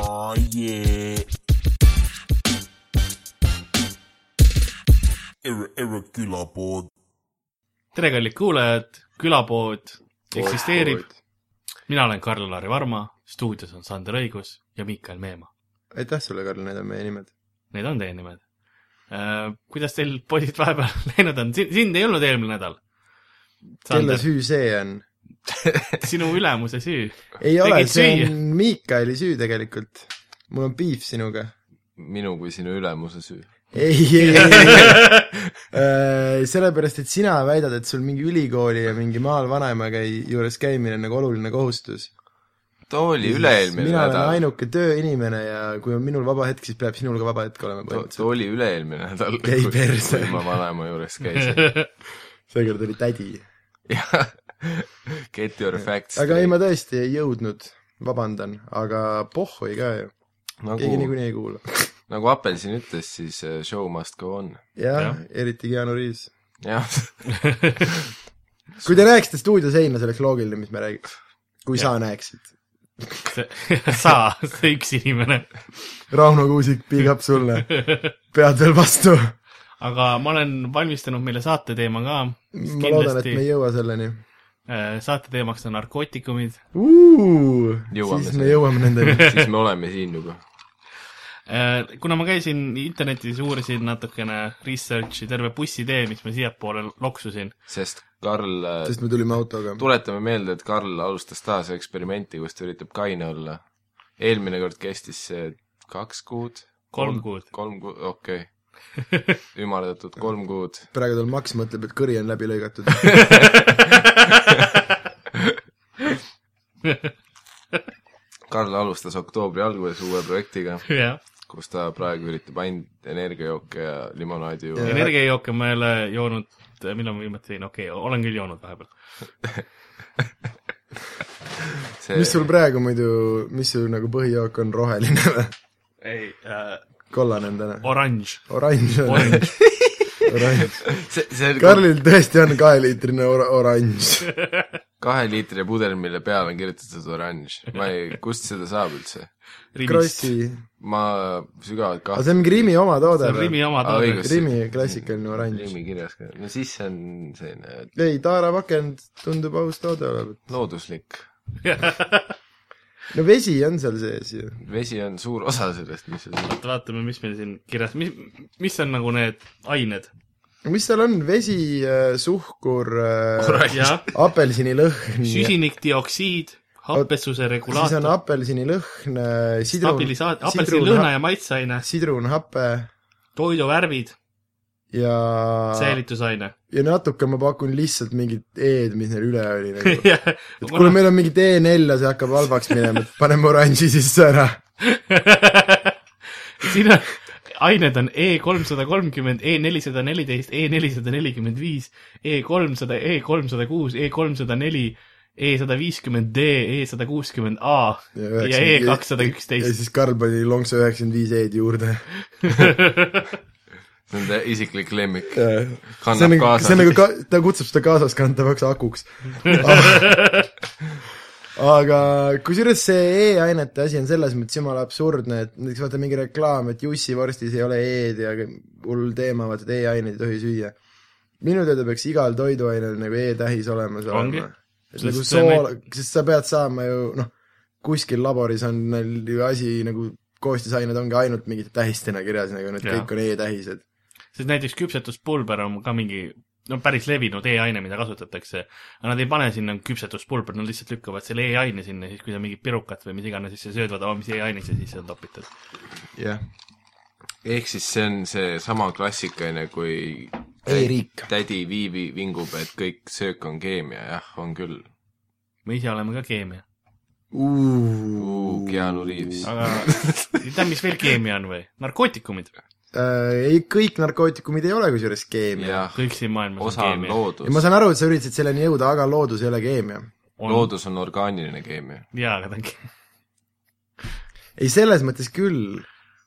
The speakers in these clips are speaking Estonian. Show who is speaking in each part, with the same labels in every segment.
Speaker 1: Oh yeah. Erre , Erre külapood .
Speaker 2: tere , kallid kuulajad , külapood eksisteerib ,. mina olen Karl-Lari Varma , stuudios on Sander Õigus ja Miikael Meemaa .
Speaker 3: aitäh sulle , Karl , need on meie nimed .
Speaker 2: Need on teie nimed . kuidas teil poisid vahepeal läinud on ? sind ei olnud eelmine nädal .
Speaker 3: kelle süü see on ?
Speaker 2: sinu ülemuse süü .
Speaker 3: ei ole ,
Speaker 2: Tegid
Speaker 3: see
Speaker 2: süüa.
Speaker 3: on Miikaeli süü tegelikult . mul on piif sinuga .
Speaker 4: minu kui sinu ülemuse süü .
Speaker 3: ei , ei , ei , ei . sellepärast , et sina väidad , et sul mingi ülikooli ja mingi maal vanaema käi- , juures käimine on nagu oluline kohustus .
Speaker 4: too oli üle-eelmine
Speaker 3: mina olen
Speaker 4: nädal .
Speaker 3: ainuke tööinimene ja kui on minul vaba hetk , siis peab sinul ka vaba hetk olema
Speaker 4: too
Speaker 3: põhimõtteliselt .
Speaker 4: oli üle-eelmine nädal .
Speaker 3: Ei, perse.
Speaker 4: kui ma vanaema juures käisin .
Speaker 3: seekord oli tädi .
Speaker 4: jah , get your facts .
Speaker 3: aga ei , ma tõesti ei jõudnud , vabandan , aga pohhui ka ju . keegi
Speaker 4: nagu ,
Speaker 3: niikuinii ei kuula .
Speaker 4: nagu Apelsin ütles , siis äh, show must go on .
Speaker 3: jah
Speaker 2: Jah. ,
Speaker 3: eriti Keanu Reaves .
Speaker 4: jah ,
Speaker 3: kui te näeksite stuudioseina , see oleks loogiline , mis me räägiks . kui ja. sa näeksid .
Speaker 2: sa , see üks inimene .
Speaker 3: Rauno Kuusik , big up sulle . pead veel vastu .
Speaker 2: aga ma olen valmistanud meile saateteema ka .
Speaker 3: ma loodan , et me ei jõua selleni .
Speaker 2: saateteemaks on narkootikumid .
Speaker 4: Jõuame
Speaker 3: siis me
Speaker 4: selleni.
Speaker 3: jõuame nendeni .
Speaker 4: siis me oleme siin juba .
Speaker 2: Äh, kuna ma käisin internetis , uurisin natukene research'i , terve bussitee , mis ma siiapoole loksusin .
Speaker 4: sest Karl ,
Speaker 3: sest me tulime autoga .
Speaker 4: tuletame meelde , et Karl alustas taas eksperimenti , kus ta üritab kaine olla . eelmine kord kestis see kaks kuud .
Speaker 2: kolm kuud .
Speaker 4: kolm kuud , okei okay. . ümardatud kolm kuud
Speaker 3: praegu tal Max mõtleb , et kõri on läbi lõigatud .
Speaker 4: Karl alustas oktoobri alguses uue projektiga ,
Speaker 2: jah ,
Speaker 4: kus ta praegu üritab ainult energiajooke ja limonaadi juua .
Speaker 2: energiajooke ma ei ole joonud , millal ma viimati jõin , okei okay, , olen küll joonud vahepeal .
Speaker 4: see
Speaker 3: mis sul praegu muidu , mis sul nagu põhijook on , roheline või ?
Speaker 2: ei äh, ,
Speaker 3: kollane on täna ?
Speaker 2: oranž ,
Speaker 3: oranž on ,
Speaker 2: oranž .
Speaker 3: oranž .
Speaker 4: see , see oli Karli...
Speaker 3: Karlil tõesti on kaheliitrine or- , oranž .
Speaker 4: kaheliitrine nagu pudel , mille peale on kirjutatud oranž . ma ei , kust seda saab üldse ?
Speaker 2: Rimi
Speaker 3: Krossi .
Speaker 4: ma sügavalt
Speaker 3: aga
Speaker 4: kahtlen .
Speaker 3: see on mingi Rimi oma toode või ?
Speaker 2: oma
Speaker 4: Aa,
Speaker 2: toode
Speaker 4: õigus. .
Speaker 3: Rimi klassikaline oranž .
Speaker 4: nimi kirjas ka , no siis see on selline
Speaker 3: ei , taarapakend tundub aus toode olevat .
Speaker 4: looduslik .
Speaker 3: no vesi on seal sees ju .
Speaker 4: vesi on suur osa sellest , mis see on .
Speaker 2: oota , vaatame , mis meil siin kirjas , mis , mis on nagu need ained .
Speaker 3: mis seal on , vesi , suhkur ,
Speaker 2: jah ,
Speaker 3: apelsinilõhn , siis
Speaker 2: süsinikdioksiid , happesuse
Speaker 3: on
Speaker 2: regulaator ,
Speaker 3: apelsinilõhn , sidrun ,
Speaker 2: stabilisaat- , apelsinilõhna
Speaker 3: sidrun ,
Speaker 2: ja maitseaine ,
Speaker 3: sidrunhape
Speaker 2: toiduvärvid ,
Speaker 3: ja ,
Speaker 2: säilitusaine .
Speaker 3: ja natuke ma pakun lihtsalt mingit E-d , mis neil üle oli nagu . et kuule ,
Speaker 2: jah ,
Speaker 3: meil on mingi D4 ja see hakkab halvaks minema , et paneme oranži sisse ära .
Speaker 2: siin on , ained on E kolmsada kolmkümmend , E nelisada neliteist , E nelisada nelikümmend viis , E kolmsada , E kolmsada kuus , E kolmsada neli , E sada viiskümmend D , E sada kuuskümmend A ja E kakssada
Speaker 3: ja
Speaker 2: üksteist .
Speaker 3: siis Karl pani lonksu üheksakümmend viis E-d juurde .
Speaker 4: see on ta isiklik lemmik .
Speaker 3: see on
Speaker 4: kannab
Speaker 3: nagu , see on nagu
Speaker 4: kaasa .
Speaker 3: ka, , ta kutsub seda kaasas kantavaks akuks . aga kusjuures see e-ainete asi on selles mõttes jumala absurdne , et näiteks vaata mingi reklaam , et Jussi vorstis ei ole e-d ja hull teema , vaata , et e-aineid ei tohi süüa . minu teada peaks igal toiduainel nagu e-tähis olemas
Speaker 2: Ongi.
Speaker 3: olema . et nagu
Speaker 2: Sest see on
Speaker 3: sool , sest sa pead saama ju noh , kuskil laboris on neil ju asi nagu koostisained ongi ainult mingite tähistena kirjas , nagu need
Speaker 2: Jaa.
Speaker 3: kõik on e-tähised .
Speaker 2: sest näiteks küpsetuspulber on ka mingi no päris levinud e-aine , mida kasutatakse , aga nad ei pane sinna küpsetuspulbrit , nad lihtsalt lükkavad selle e-aine sinna , siis kui sa mingit pirukat või mis iganes sisse sööd , vaata , mis e-aine sa sisse topitad .
Speaker 3: jah
Speaker 4: ehk siis see on seesama klassikaline , kui
Speaker 3: E-riik.
Speaker 4: tädi Viivi vingub , et kõik söök on keemia , jah , on küll .
Speaker 2: me ise oleme ka keemia ,
Speaker 4: Keanu Reaves .
Speaker 2: aga tead , mis veel keemia on või ? narkootikumid ,
Speaker 3: äh, . ei , kõik narkootikumid ei ole kusjuures keemia .
Speaker 4: jah ,
Speaker 2: kõik siin maailmas
Speaker 4: osa
Speaker 2: on
Speaker 4: on
Speaker 2: keemia .
Speaker 3: ja ma
Speaker 4: loodus .
Speaker 3: saan aru , et sa üritasid selleni jõuda , aga loodus ei ole keemia .
Speaker 4: loodus on orgaaniline keemia .
Speaker 2: jaa , aga ta on ke-
Speaker 3: ei , selles mõttes küll ,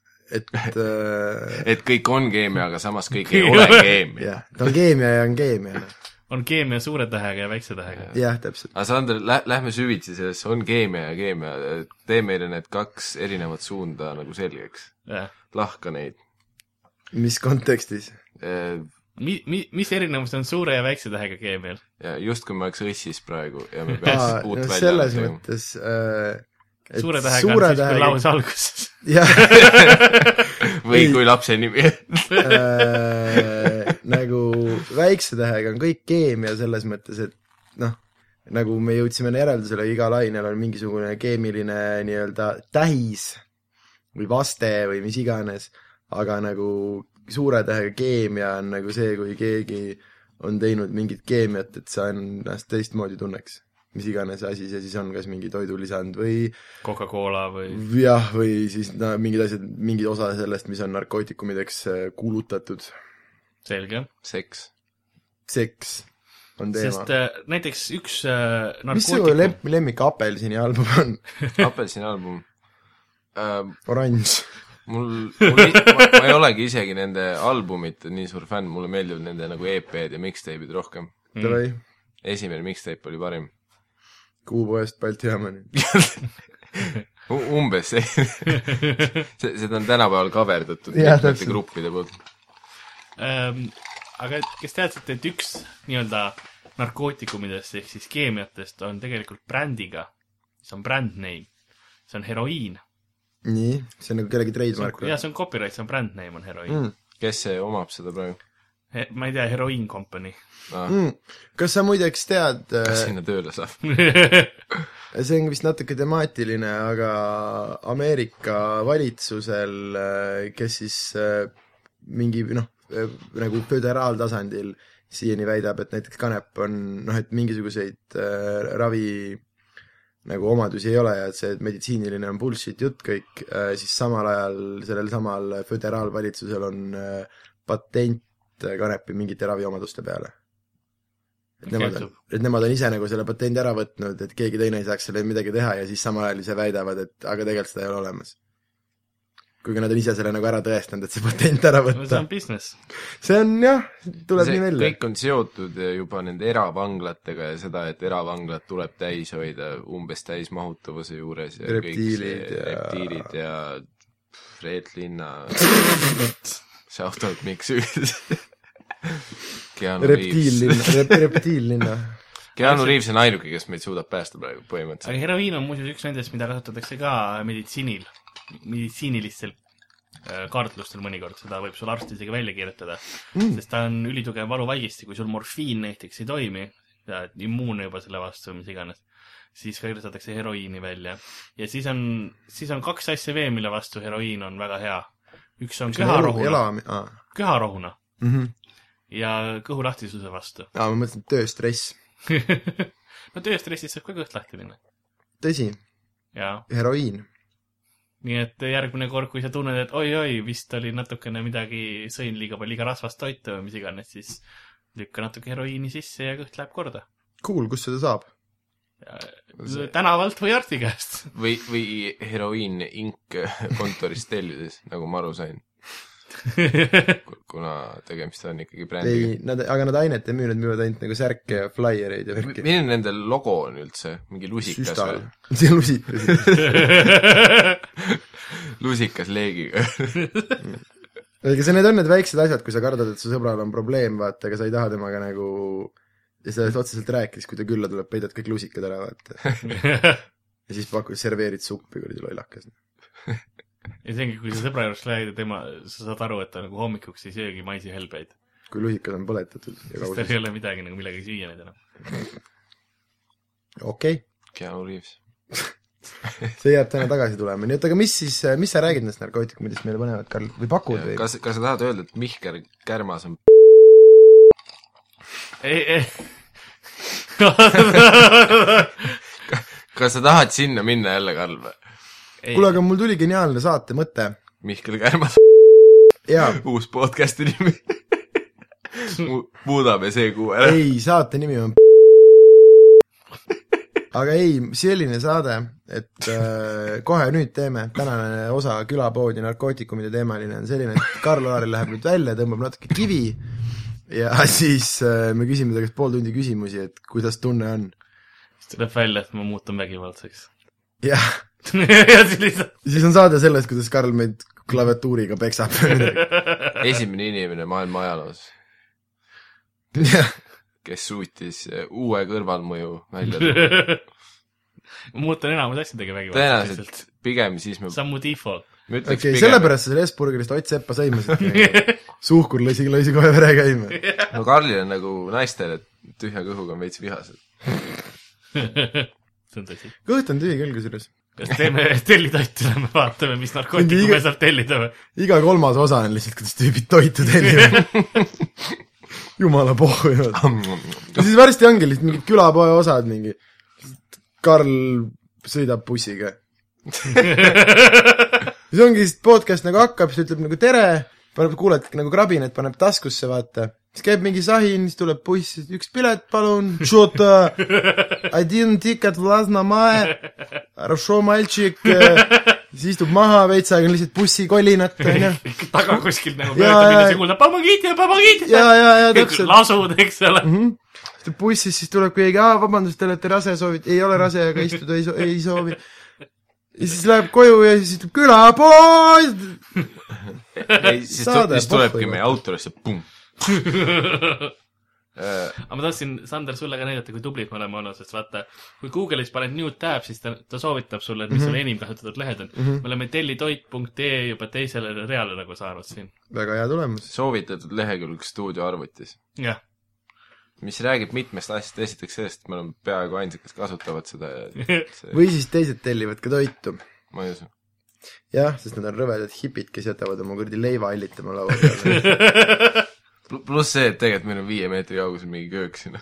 Speaker 3: et äh,
Speaker 4: et kõik on keemia , aga samas kõik ei ole keemia .
Speaker 3: jah , ta on keemia ja on keemia .
Speaker 2: on keemia suure tähega ja väikse tähega .
Speaker 3: jah , täpselt .
Speaker 4: aga Sander , lä- , lähme süvitsi sellesse , on keemia ja keemia , tee meile need kaks erinevat suunda nagu selgeks ,
Speaker 2: jah .
Speaker 4: lahka neid .
Speaker 3: mis kontekstis ?
Speaker 4: ja
Speaker 2: mi- , mi- , mis erinevus on suure ja väikse tähega keemial ?
Speaker 4: justkui me oleks õssis praegu ja me peaks
Speaker 3: aa ,
Speaker 4: uut
Speaker 3: no
Speaker 4: välja
Speaker 3: selles
Speaker 4: tegema.
Speaker 3: mõttes äh, et
Speaker 2: suure tähega suure on siis , kui lause alguses .
Speaker 3: jah
Speaker 4: või
Speaker 3: Ei.
Speaker 4: kui lapse nimi .
Speaker 3: äh, , nagu väikse tähega on kõik keemia selles mõttes , et noh , nagu me jõudsime järeldusele , igal ainel on mingisugune keemiline nii-öelda tähis või vaste või mis iganes , aga nagu suure tähega keemia on nagu see , kui keegi on teinud mingit keemiat , et sa ennast teistmoodi tunneks . mis iganes asi see siis on , kas mingi toidulisand või
Speaker 2: Coca-Cola või
Speaker 3: jah , või siis no, mingid asjad , mingid osa sellest , mis on narkootikumideks äh, kuulutatud
Speaker 2: selge .
Speaker 4: seks .
Speaker 3: seks on teema
Speaker 2: sest . äh, näiteks üks äh,
Speaker 3: mis su
Speaker 2: narkootikum ,
Speaker 3: lemp- , lemmik apelsini album on ?
Speaker 4: apelsini album uh, .
Speaker 3: oranž .
Speaker 4: mul , mul , ma ei olegi isegi nende albumite nii suur fänn , mulle meeldivad nende nagu EP-d ja mixtape'id rohkem .
Speaker 2: Mm.
Speaker 3: Davai ,
Speaker 4: esimene mixtape oli parim
Speaker 3: Kuupoest Balti jaamani .
Speaker 4: U . umbes see , seda on tänapäeval coverdatud
Speaker 3: Jah,
Speaker 4: mitmete
Speaker 3: täpselt.
Speaker 4: gruppide poolt .
Speaker 2: ähm, aga et- kas teadsite , et üks nii-öelda narkootikumidest ehk siis keemiatest on tegelikult brändiga , see on brand name , see on heroiin .
Speaker 3: nii , see on nagu kellegi trademark või
Speaker 2: ja ? see on copyright , see on brand name on heroiin mm. .
Speaker 3: Mm.
Speaker 4: kes see omab seda praegu
Speaker 2: ma ei tea , heroiin company .
Speaker 4: ah, ?
Speaker 3: Mm. kas sa muideks tead ,
Speaker 4: kas sinna tööle saab ?
Speaker 3: see on vist natuke temaatiline , aga Ameerika valitsusel , kes siis äh, mingi noh , nagu föderaaltasandil siiani väidab , et näiteks kanep on noh , et mingisuguseid äh, ravi nagu omadusi ei ole ja et see meditsiiniline on bullshit jutt kõik , siis samal ajal sellel samal föderaalvalitsusel on äh, patent kanepi mingite raviomaduste peale . et nemad on
Speaker 2: Kehtub. ,
Speaker 3: et nemad on ise nagu selle patendi ära võtnud , et keegi teine ei saaks sellele midagi teha ja siis samal ajal ise väidavad , et aga tegelikult seda ei ole olemas . kuigi nad on ise selle nagu ära tõestanud , et see patent ära
Speaker 2: see
Speaker 3: võtta
Speaker 2: on . business .
Speaker 3: see on jah , tuleb nii
Speaker 4: see
Speaker 3: välja .
Speaker 4: kõik on seotud juba nende eravanglatega ja seda , et eravanglad tuleb täis hoida umbes täismahutavuse juures ja
Speaker 3: Reptiilid
Speaker 4: kõik see ,
Speaker 3: ja-
Speaker 4: reptiilid ja Reet Linna shout out Mikk Süülis . Keanu Reeves ,
Speaker 3: reptiillinna , rep- , reptiillinna .
Speaker 4: Keanu Reaves on ainuke , kes meid suudab päästa praegu
Speaker 2: aga
Speaker 4: põhimõtteliselt .
Speaker 2: heroiin on muuseas üks nendest , mida kasutatakse ka meditsiinil , meditsiinilistel äh, kaartlustel mõnikord , seda võib sul arst isegi välja kirjutada mm. , sest ta on ülitugev valuvaigisti , kui sul morfiin näiteks ei toimi , sa oled immuunne juba selle vastu või mis iganes , siis ka kirjutatakse heroiini välja . ja siis on , siis on kaks asja veel , mille vastu heroiin on väga hea . üks on köharohuna ,
Speaker 3: elami- , aa .
Speaker 2: köharohuna
Speaker 3: aa ,
Speaker 2: ja kõhulahtisuse vastu .
Speaker 3: ma mõtlesin , et tööstress .
Speaker 2: no tööstressist saab ka kõht lahti minna .
Speaker 3: tõsi ,
Speaker 2: jaa
Speaker 3: heroiin .
Speaker 2: nii et järgmine kord , kui sa tunned , et oi-oi , vist oli natukene midagi , sõin liiga palju , liiga rasvast toitu või mis iganes , siis lükka natuke heroiini sisse ja kõht läheb korda .
Speaker 3: Cool , kus seda saab ?
Speaker 4: See-
Speaker 2: tänavalt või arsti käest .
Speaker 4: või , või heroiin ink kontoris tellides , nagu ma aru sain , kuna tegemist on ikkagi brändiga .
Speaker 3: ei , nad , aga nad ainet ei müü , nad müüvad ainult nagu särke ja flaiereid ja värki .
Speaker 4: milline nende logo on üldse , mingi lusikas
Speaker 3: süstal
Speaker 4: või ?.
Speaker 3: see on lusikas .
Speaker 4: lusikas leegiga
Speaker 3: ega see , need on need väiksed asjad , kui sa kardad , et su sõbral on probleem , vaata , aga sa ei taha temaga nagu sellest otseselt rääkida , siis kui ta külla tuleb , peidad kõik lusikad ära , vaata .
Speaker 2: ja
Speaker 3: ja siis pakud , serveerid suppi , kuradi lollakas .
Speaker 2: see ongi , kui sa sõbra juures lähed ja tema , sa saad aru , et ta nagu hommikuks ei söögi maisihelbeid ,
Speaker 3: kui lusikas on põletatud ja
Speaker 2: sest tal
Speaker 3: kaugus .
Speaker 2: ei ole midagi nagu millegagi süüa neid enam .
Speaker 3: okei okay. ,
Speaker 4: Keanu Reaves .
Speaker 3: see jääb täna tagasi tulema , nii et aga mis siis , mis sa räägid nendest narkootikumidest meile põnevat , Karl , või pakud või ?
Speaker 4: kas , kas sa tahad öelda , et Mihkel Kärmas on
Speaker 2: ei , ei .
Speaker 4: kas sa tahad sinna minna jälle , Karl või ?
Speaker 3: kuule , aga mul tuli geniaalne saate mõte
Speaker 4: Mihkel Kärmas ,
Speaker 3: jaa ,
Speaker 4: uus podcast'i nimi . muudame see kuu ära .
Speaker 3: ei , saate nimi on aga ei , selline saade , et äh, kohe nüüd teeme , tänane osa külapoodi narkootikumide teemaline on selline , et Karl-Laaril läheb nüüd välja , tõmbab natuke kivi ja siis äh, me küsime ta käest pool tundi küsimusi , et kuidas tunne on .
Speaker 2: siis tuleb välja , et ma muutun vägivaldseks .
Speaker 3: jah ,
Speaker 2: ja siis lihtsalt
Speaker 3: siis on saade sellest , kuidas Karl meid klaviatuuriga peksab või midagi .
Speaker 4: esimene inimene maailma ajaloos ,
Speaker 3: jah ,
Speaker 4: kes suutis eh, uue kõrvalmõju välja tuua .
Speaker 2: ma muutun enamus asjadega vägivaldseks lihtsalt .
Speaker 4: tõenäoliselt pigem siis me ,
Speaker 2: sammu default .
Speaker 4: ma ütleks
Speaker 3: okei
Speaker 4: okay,
Speaker 3: okay, ,
Speaker 4: pigem ,
Speaker 3: sellepärast sa sellest burgerist Ott Seppa sõimasid . suhkur lõi , lõi kohe vere käima .
Speaker 4: no Karlil on nagu naistel , et tühja kõhuga on veits vihased .
Speaker 2: see on tõsi .
Speaker 3: kõht on tühi küll kusjuures .
Speaker 2: kas teeme , tellida Ott , lähme vaatame , mis narkootikume
Speaker 3: Mingi-
Speaker 2: saab tellida või ?
Speaker 3: iga kolmas osa on lihtsalt , kuidas tüübid toitu tellivad . jumala pohhuivad . ja siis varsti ongi lihtsalt mingid külapoe osad mingi . Karl sõidab bussiga . siis ongi lihtsalt podcast nagu hakkab , siis ta ütleb nagu tere , paneb , kuuled nagu krabinat paneb taskusse , vaata . siis käib mingi sahin , siis tuleb buss , üks pilet palun , один ticket в Lasnamäe , хорошо мальчик , siis istub maha veits aega lihtsalt bussikolinat , onju
Speaker 2: taga kuskilt nagu
Speaker 3: Jaa,
Speaker 2: mööda
Speaker 3: jaa.
Speaker 2: minnes ja kuulda pomogite , pomogite .
Speaker 3: ja , ja , ja täpselt .
Speaker 2: lasud , eks ole .
Speaker 3: istub bussis , siis tuleb keegi , aa , vabandust , te olete rase , soovid , ei ole rase , aga istuda ei soo- , ei soovi . ja siis läheb koju ja siis ütleb külapood .
Speaker 4: ei , siis, tu-
Speaker 3: Saade
Speaker 4: siis tulebki
Speaker 3: pohhu-
Speaker 4: meie autorisse , Äh, pumm .
Speaker 2: aga ma tahtsin , Sander , sulle ka näidata , kui tublid me oleme olnud , sest vaata , kui Google'is paned new tab , siis ta , ta soovitab sulle ,
Speaker 3: Mhm.
Speaker 2: et mis mm -hmm. sul enim kasutatud lehed on mm . -hmm. me oleme tellitoit.ee juba teisele reale nagu sa arvad siin .
Speaker 3: väga hea tulemus .
Speaker 4: soovitatud lehekülg stuudioarvutis ,
Speaker 2: jah ,
Speaker 4: mis räägib mitmest asjast , esiteks sellest , et me oleme peaaegu ainsad , kes kasutavad seda ja see ,
Speaker 3: või siis teised tellivad ka toitu .
Speaker 4: ma ei usu .
Speaker 3: jah , sest nad on rõvedad hipid , kes jätavad oma kuradi leiva hallitama laua peale .
Speaker 4: pluss see , et tegelikult meil on viie meetri kaugusel mingi köök sinna .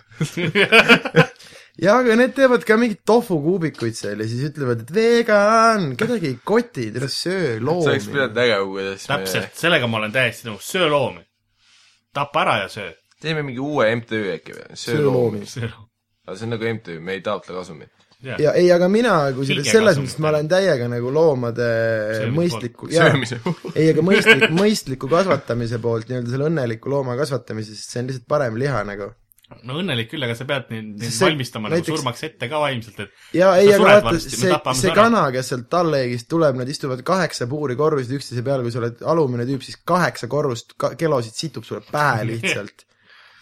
Speaker 3: ja , aga need teevad ka mingeid tofukuubikuid seal ja siis ütlevad , et vegan , kedagi ei koti , tere söö
Speaker 4: sa oleks pidanud
Speaker 3: loomi .
Speaker 4: nägema , kuidas me
Speaker 2: täpselt , sellega ma olen täiesti nõus , söö loomi . tapa ära ja söö .
Speaker 4: teeme mingi uue MTÜ äkki või ,
Speaker 3: söö
Speaker 4: sööloomi .
Speaker 3: loomi .
Speaker 2: söö loomi .
Speaker 4: aga see on nagu MTÜ , me ei taotle kasumit .
Speaker 3: ja ei , aga mina , kusjuures
Speaker 2: Kilge
Speaker 3: selles
Speaker 2: kasum.
Speaker 3: mõttes ma olen täiega nagu loomade
Speaker 2: Söömise
Speaker 3: mõistliku , jaa ,
Speaker 4: söömise puhul .
Speaker 3: ei , aga mõistlik , mõistliku kasvatamise poolt , nii-öelda selle õnneliku looma kasvatamise , sest see on lihtsalt parem liha nagu .
Speaker 2: no õnnelik küll , aga sa pead neid , neid
Speaker 3: See-
Speaker 2: valmistama näiteks...
Speaker 3: näiteks-
Speaker 2: nagu surmaks ette ka vaimselt , et
Speaker 3: ja
Speaker 2: Sa
Speaker 3: ei , aga
Speaker 2: sured
Speaker 3: vaata ,
Speaker 2: varsti, me
Speaker 3: see
Speaker 2: tapame , su
Speaker 3: see
Speaker 2: ära.
Speaker 3: kana , kes sealt talleegist tuleb , nad istuvad kaheksa puuri korrusid üksteise peal , kui sa oled alumine tüüp , siis kaheksa korrust ka kelosid situb sulle pähe lihtsalt .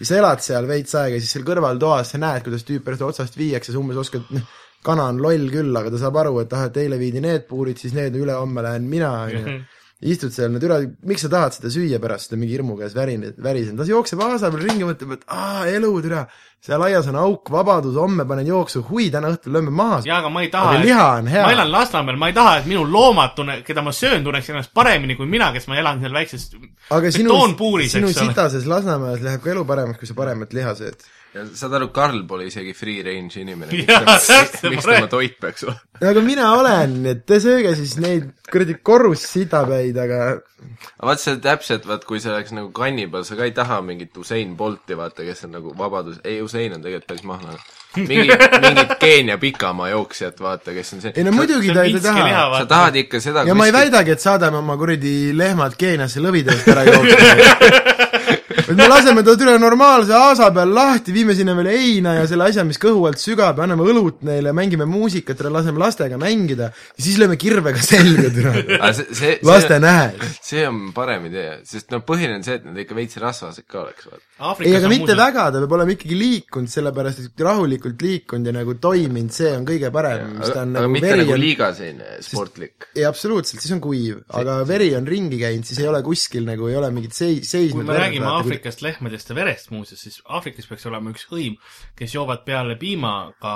Speaker 3: ja sa elad seal veits aega , siis seal kõrvaltoas sa näed , kuidas tüüp pärast otsast viiakse , sa umbes oskad , noh , kana on loll küll , aga ta saab aru , et ahah , teile viidi need puurid , siis need ülehomme lähen mina , onju .
Speaker 2: Mhm.
Speaker 3: istud seal , no türa , miks sa tahad seda süüa pärast , seda mingi hirmu käes värin- , värisenud , las jookseb aasa peal ringi , mõtleb , et aa , elu türa , seal aias on auk , vabadus , homme panen jooksu , hui , täna õhtul lööme maha .
Speaker 2: jaa , aga ma ei taha ,
Speaker 3: Aga liha on hea.
Speaker 2: ma elan Lasnamäel , ma ei taha , et minu loomad tunne , keda ma söön , tunneks ennast paremini kui mina , kes ma elan seal väikses
Speaker 3: aga sinu ,
Speaker 2: betoonpuuris ,
Speaker 3: sinu
Speaker 2: eks ole .
Speaker 3: sitases Lasnamäes läheb ka elu paremaks , kui sa paremat liha sööd .
Speaker 4: ja saad aru , Karl pole isegi free range inimene .
Speaker 2: Jaa,
Speaker 4: miks
Speaker 2: täpselt,
Speaker 4: tema- miks
Speaker 2: ma räägin.
Speaker 4: tema toit peaks olema ?
Speaker 3: aga mina olen , nii et te sööge siis neid kuradi korrussitapäid , aga
Speaker 4: aga vaat see on täpselt , vaat kui see oleks nagu kannibal , sa ka ei taha mingit Usain Bolti , vaata , kes on nagu vabadus , ei Usain on tegelikult päris mahlane . mingit , mingit Keenia pikamaa jooksjat , vaata , kes on see .
Speaker 3: ei no muidugi
Speaker 2: see
Speaker 3: ta
Speaker 2: on
Speaker 3: ei ta
Speaker 2: Minski liha,
Speaker 3: taha .
Speaker 4: sa tahad ikka seda ,
Speaker 3: ja ma ei väidagi , et saadame oma kuradi lehmad Keeniasse lõvidest ära jooksma . et me laseme ta üle normaalse aasa peal lahti , viime sinna veel heina ja selle asja , mis kõhu alt sügab , anname õlut neile , mängime muusikat , laseme lastega mängida ja siis lööme kirvega selga , türa .
Speaker 4: aga see , see ,
Speaker 3: laste
Speaker 4: see,
Speaker 3: nähes .
Speaker 4: see on parem idee , sest noh , põhiline on see , et nad ikka veits rasvased ka oleks , vaata .
Speaker 3: ei , aga mitte . väga , ta peab olema ikkagi liikunud , sellepärast et rahulikult liikunud ja nagu toiminud , see on kõige parem , mis ta
Speaker 4: aga,
Speaker 3: on
Speaker 4: aga
Speaker 3: nagu
Speaker 4: mitte
Speaker 3: veri
Speaker 4: nagu
Speaker 3: on
Speaker 4: liiga selline sportlik .
Speaker 3: ei absoluutselt , siis on kuiv , aga veri on ringi käinud , siis ei ole kuskil nagu ei ole mingit seis , seisnud
Speaker 2: kui me räägime Aafrikast lehmadest ja verest muuseas , siis Aafrikas peaks olema üks hõim , kes joovad peale piimaga ,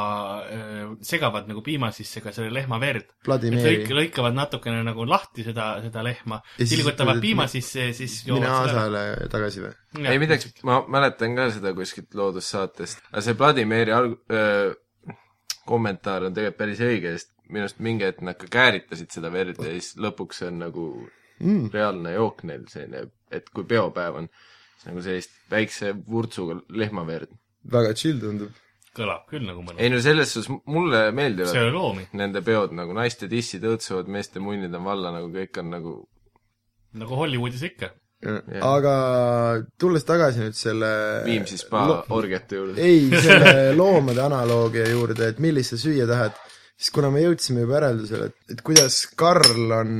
Speaker 2: segavad nagu piima sisse ka selle lehma verd . et
Speaker 3: Vladimiri
Speaker 2: lõik- , lõikavad natukene nagu lahti seda , seda lehma ,
Speaker 3: Ja siis
Speaker 2: tilgutavad
Speaker 3: ütled,
Speaker 2: piima
Speaker 3: mi-
Speaker 2: sisse ja siis
Speaker 3: mine
Speaker 2: joovad seda .
Speaker 3: Aasale tagasi või ?
Speaker 4: ei midagi , ma mäletan ka seda kuskilt loodussaatest , aga see Vladimiri alg- , öö, kommentaar on tegelikult päris õige , sest minu arust mingi hetk nad ka kääritasid seda verd ja siis lõpuks see on nagu mm. reaalne jook neil selline , et kui peopäev on , siis nagu sellist väikse vurtsuga lehmaverd .
Speaker 3: väga chill tundub .
Speaker 2: kõlab küll nagu mõnus .
Speaker 4: ei no selles suhtes mulle meeldivad
Speaker 2: söö loomi ,
Speaker 4: nende peod nagu naiste dissid õõtsuvad , meeste munnid on valla , nagu kõik on nagu
Speaker 2: nagu Hollywoodis ikka .
Speaker 3: aga tulles tagasi nüüd selle
Speaker 4: Viimsi spa
Speaker 3: lo-
Speaker 4: orgiate juurde .
Speaker 3: ei , selle loomade analoogia juurde , et millist sa süüa tahad , siis kuna me jõudsime juba järeldusele , et , et kuidas Karl on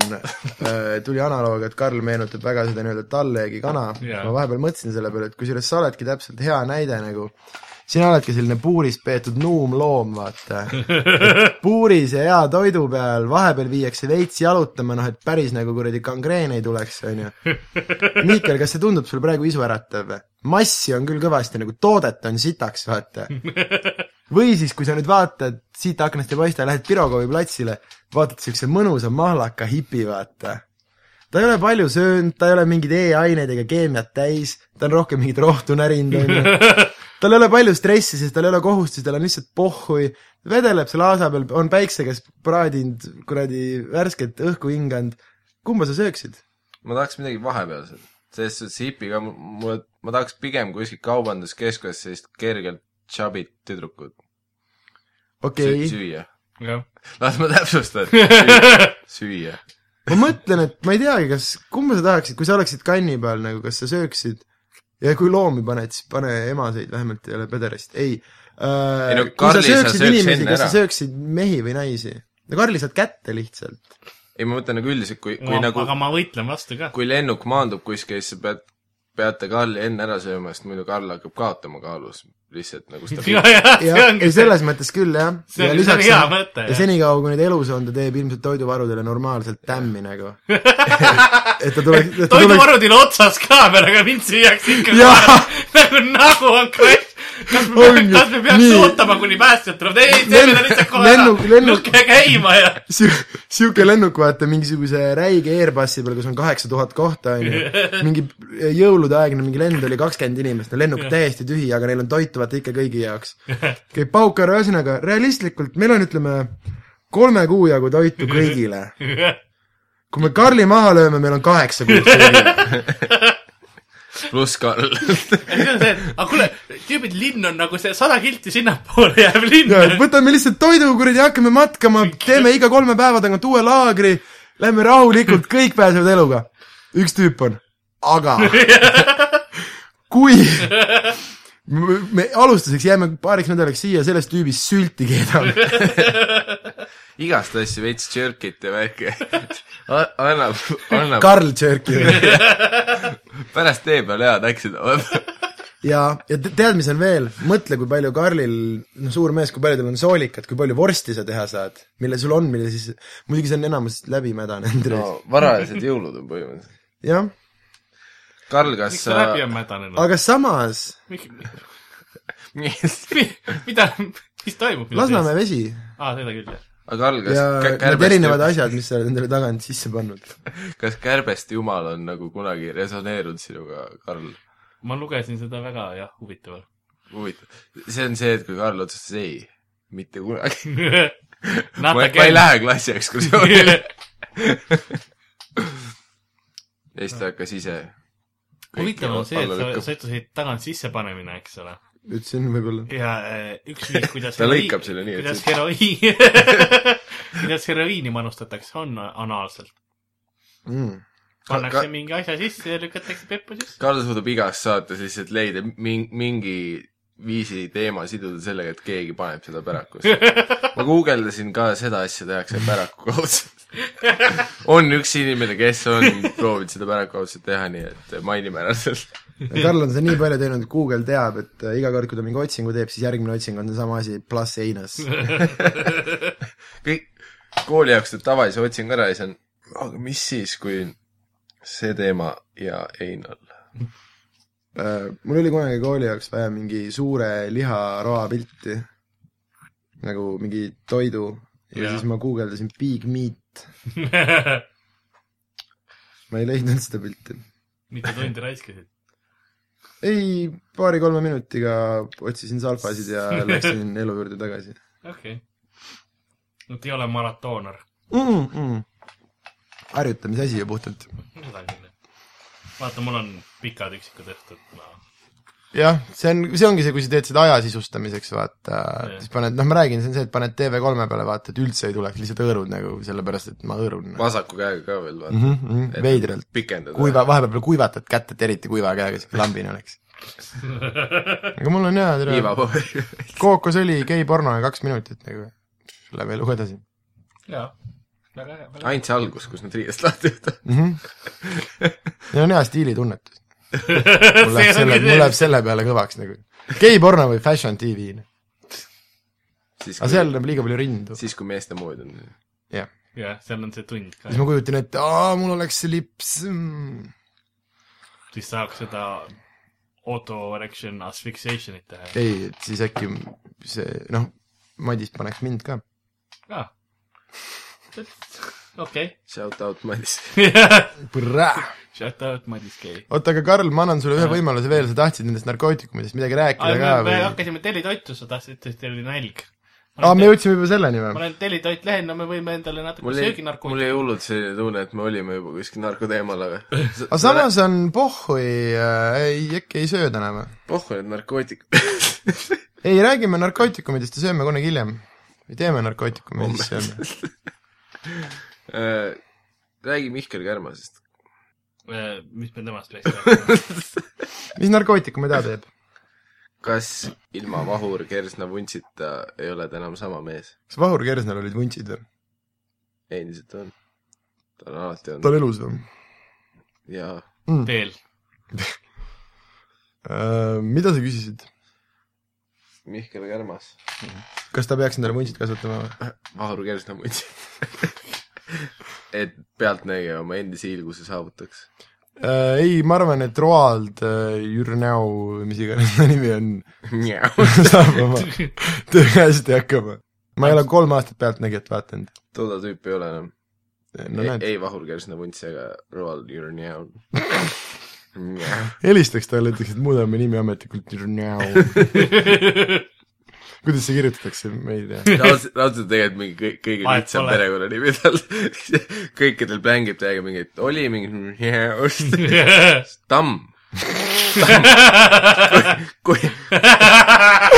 Speaker 3: äh, , tuli analoog , et Karl meenutab väga seda nii-öelda tallegi kana
Speaker 2: Jaa.
Speaker 3: yeah. , ma vahepeal mõtlesin selle peale , et kusjuures sa oledki täpselt hea näide nagu , sina oledki selline puuris peetud nuumloom , vaata . puuris ja hea toidu peal , vahepeal viiakse veits jalutama , noh et päris nagu kuradi kangreen ei tuleks , onju . Miikal , kas see tundub sulle praegu isuäratav või ? massi on küll kõvasti , nagu toodet on sitaks , vaata . või siis , kui sa nüüd vaatad , siit aknast ei paista , lähed Pirogovi platsile , vaatad siukse mõnusa mahlaka hipi , vaata . ta ei ole palju söönud , ta ei ole mingeid e-aineid ega keemiat täis , ta on rohkem mingit rohtu närinud , onju . tal ei ole palju stressi , sest tal ei ole kohustusi , tal on lihtsalt pohhui , vedeleb seal aasa peal , on päikse käes praadinud , kuradi värsket õhku hinganud . kumba sa sööksid ?
Speaker 4: ma tahaks midagi vahepealset , selles suhtes hipiga mu- mulle , ma tahaks pigem kuskilt kaubanduskeskuses sellist kergelt tšabit tüdrukut
Speaker 3: okei okay. ,
Speaker 4: okay. süüa .
Speaker 2: jah .
Speaker 4: las ma täpsustan , süüa .
Speaker 3: ma mõtlen , et ma ei teagi , kas , kumba sa tahaksid , kui sa oleksid kanni peal nagu , kas sa sööksid ja kui loomi paned , siis pane emaseid , vähemalt ei ole pederast , ei äh, .
Speaker 4: Ei no Karli sa sööks enne
Speaker 3: kas sa
Speaker 4: ära.
Speaker 3: sööksid mehi või naisi ? no Karli saad kätte lihtsalt .
Speaker 4: ei , ma mõtlen nagu üldiselt , kui , kui
Speaker 2: Ma,
Speaker 4: nagu
Speaker 2: aga , ma võitlen vastu ka .
Speaker 4: kui lennuk maandub kuskil , siis sa pead , peate Karli enne ära sööma , sest muidu Karl hakkab kaotama kaalus . lihtsalt nagu
Speaker 2: ja ,
Speaker 4: stabiilselt .
Speaker 2: ja , see
Speaker 3: jah ,
Speaker 2: ongi
Speaker 3: ei
Speaker 2: see .
Speaker 3: selles mõttes küll jah .
Speaker 2: see on- see on hea mõte, jah.
Speaker 3: ja senikaua , kuni ta elus on , ta teeb ilmselt toiduvarudele normaalselt tämmi nagu . et ta tuleks , et ta tuleks
Speaker 2: toiduvarudil otsas ka veel , aga nagu mind süüakse ikka
Speaker 3: Jaa.
Speaker 2: kohe. nagu nagu on crash . kas me
Speaker 3: On , ju,
Speaker 2: kas me peaks
Speaker 3: nii.
Speaker 2: ootama , kuni päästjad tulevad , ei , ei , teeme ta
Speaker 3: Lennu-
Speaker 2: lihtsalt kohe ära
Speaker 3: lennu- , lennu-
Speaker 2: lükake käima ja .
Speaker 3: Siu- sihuke lennuk , vaata mingisuguse räige Airbusi peal , kus on kaheksa tuhat kohta , onju . mingi jõuludeaegne mingi lend oli kakskümmend inimest , no lennuk täiesti tühi , aga neil on toitu vaata ikka kõigi jaoks . käib pauk ära , ühesõnaga realistlikult meil on , ütleme , kolme kuu jagu toitu kõigile . kui me Karli maha lööme , meil on kaheksa kuud kõigile .
Speaker 4: pluss Karl .
Speaker 2: see on see , et aga kuule , tüübid , linn on nagu see sada kilti sinnapoole jääv linn .
Speaker 3: võtame lihtsalt toidu , kuradi , hakkame matkama , teeme iga kolme päeva tagant uue laagri , lähme rahulikult , kõik pääsevad eluga . üks tüüp on , aga kui me me alustuseks jääme paariks nädalaks siia , sellest tüübist sülti keedame .
Speaker 4: igast asju veits tšörkit ja värki . annab , annab ,
Speaker 3: Karl Tšerki
Speaker 4: pärast tee peal head äksid .
Speaker 3: ja , ja te- tead , mis on veel , mõtle , kui palju Karlil , noh , suur mees , kui palju tal on soolikat , kui palju vorsti sa teha saad , mille sul on , mille siis , muidugi see on enamus läbi mädanenud no. .
Speaker 4: varajased jõulud on põhimõtteliselt .
Speaker 3: jah ,
Speaker 4: Karl , kas
Speaker 2: miks ta
Speaker 4: sa
Speaker 2: läbi on mädanenud ?
Speaker 3: aga samas
Speaker 2: mida , mis toimub ?
Speaker 3: Lasnamäe vesi
Speaker 2: aa , seda küll , jah .
Speaker 4: aga Karl , kas
Speaker 3: ja
Speaker 4: kä-
Speaker 3: need erinevad
Speaker 4: kärbest ,
Speaker 3: asjad , mis sa oled endale tagant sisse pannud .
Speaker 4: kas kärbest jumal on nagu kunagi resoneerunud sinuga , Karl ?
Speaker 2: ma lugesin seda väga , jah , huvitaval .
Speaker 4: huvitav , see on see , et kui Karl otsustas ei , mitte kunagi . ma
Speaker 2: ma
Speaker 4: ma ei . lähe klassi ekskursioonile . ja siis ta hakkas ise .
Speaker 2: huvitav on see , et sa , sa ütlesid tagant sissepanemine , eks ole .
Speaker 3: ütlesin võib-olla .
Speaker 2: ja äh, üks viis , kuidas
Speaker 4: Ta lõikab selle nii, et
Speaker 2: kuidas
Speaker 4: see-
Speaker 2: heroiin , kuidas heroiini manustatakse , on anaalselt .
Speaker 3: Mm.
Speaker 2: pannakse
Speaker 4: Ka-
Speaker 2: mingi asja sisse ja lükatakse peppu sisse .
Speaker 4: Karl suudab igas saates lihtsalt leida ming- , mingi viisi teema siduda sellega , et keegi paneb seda pärakusse . ma guugeldasin ka seda asja tehakse päraku kaudselt . on üks inimene , kes on proovinud seda päraku kaudselt teha , nii et mainime ära selle .
Speaker 3: Karl on seda nii palju teinud , et Google teab , et äh, iga kord , kui ta mingi otsingu teeb , siis järgmine otsing on seesama asi , pluss einas .
Speaker 4: kõik , kooli jaoks teeb tavalise otsingu ära ja siis on , aga mis siis , kui see teema ja Einar .
Speaker 3: Äh, mul oli kunagi kooli jaoks vaja mingi suure liharoa pilti . nagu mingi toidu ja
Speaker 2: Jaa.
Speaker 3: siis ma guugeldasin big meat , ma ei leidnud seda pilti .
Speaker 2: mitu tundi raiskasid ?
Speaker 3: ei , paari-kolme minutiga otsisin salfasid ja läksin elu juurde tagasi
Speaker 2: okei okay. . Nad ei ole maratoonar .
Speaker 3: mm . -mm. harjutamise asi ju puhtalt
Speaker 2: seda küll , jah . vaata , mul on pikad üksikud õhtud , ma
Speaker 3: jah , see on , see ongi see , kui sa teed seda aja sisustamiseks , vaata
Speaker 2: Jah. ,
Speaker 3: siis paned , noh , ma räägin , see on see , et paned TV3 peale , vaata , et üldse ei tuleks , lihtsalt hõõrud nagu , sellepärast et ma hõõrun .
Speaker 4: vasaku käega ka veel vaata mm .
Speaker 3: -hmm, veidralt .
Speaker 4: pikendada .
Speaker 3: kuiva , vahepeal veel kuivatad kätt , et eriti kuiva käega siuke lambine oleks . aga mul on hea , tere ,
Speaker 4: piivapaberi .
Speaker 3: kookosõli , geiporno ja kaks minutit nagu , läheb eluga edasi
Speaker 2: jaa , väga hea , väga hea .
Speaker 4: ainult see algus , kus nad riiest lahti võtavad .
Speaker 3: mm . -hmm. Neil on hea stiilitunnetus . mul läheb selle , mul läheb selle peale kõvaks nagu . geiporno või fashion tv ,
Speaker 4: siis
Speaker 3: aga , seal läheb liiga palju rindu ,
Speaker 4: siis kui meeste mood on .
Speaker 3: jah .
Speaker 2: jah , seal on see tund ka
Speaker 3: siis , ma kujutan ette , aa , mul oleks see lips mm. .
Speaker 2: siis saaks seda auto-erection asphyxiation'it teha .
Speaker 3: ei , et siis äkki see , noh , Madis paneks mind ka .
Speaker 2: aa , okei .
Speaker 4: Shout out Madis .
Speaker 3: oota ,
Speaker 2: Shut up , Madis Kei .
Speaker 3: aga Karl , ma annan
Speaker 2: Äh.
Speaker 3: sulle ühe võimaluse veel , sa tahtsid nendest narkootikumidest midagi rääkida ka
Speaker 2: aa , me
Speaker 3: või ?
Speaker 2: hakkasime tellitoitu , sa tahtsid , et teil oli nälg .
Speaker 3: aa , me jõudsime juba selleni
Speaker 2: ma
Speaker 3: või ?
Speaker 2: olen tellitoit lehel , no me võime endale natuke
Speaker 4: mul jäi , mul
Speaker 2: sööginarkootikumid .
Speaker 4: jäi hullult selline tunne , et me olime juba kuskil narkoteemal , aga
Speaker 3: aga samas on pohhui äh, , ei , äkki ei söö täna või ?
Speaker 4: pohhu need Oh, narkootik- .
Speaker 3: ei , räägime narkootikumidest ja sööme kunagi hiljem . või teeme narkootikume ja siis sööme .
Speaker 4: Äh, räägi Mihkel Kärmasest .
Speaker 2: Äh, mis me temast peaks rääkima ?
Speaker 3: mis narkootikume ta teeb ?
Speaker 4: kas ilma Vahur Kersna vuntsita ei ole ta enam sama mees ?
Speaker 3: kas Vahur Kersnal olid vuntsid või ?
Speaker 4: endiselt on . ta on alati
Speaker 3: ta
Speaker 4: olnud
Speaker 3: on elus või ?
Speaker 4: ja
Speaker 2: teel .
Speaker 3: Äh, mida sa küsisid ?
Speaker 4: Mihkel Kärmas .
Speaker 3: kas ta peaks endale vuntsid kasvatama või ?
Speaker 4: Vahur Kersna vuntsi . et pealtnägija oma endise hiilguse saavutaks .
Speaker 3: Äh, ei , ma arvan , et Roald äh, Jürnäo , mis iganes ta nimi on , saab oma tööga hästi hakkama . ma ei ole kolm aastat Pealtnägijat vaadanud .
Speaker 4: toda tüüpi ei ole enam
Speaker 3: no
Speaker 4: ei,
Speaker 3: näed ,
Speaker 4: E- ei Vahur Kersna vuntsi , aga Roald Jürnjaun .
Speaker 3: helistaks talle , ütleks , et muudame nimi ametlikult Jürnäo . kuidas see kirjutatakse , ma ei tea .
Speaker 4: raudselt , raudselt tegelikult mingi kõi- kõige
Speaker 2: Vahet
Speaker 4: lihtsam
Speaker 2: pole.
Speaker 4: perekonnanimi tal . kõikidel blängib täiega mingit , oli mingi tamm . kui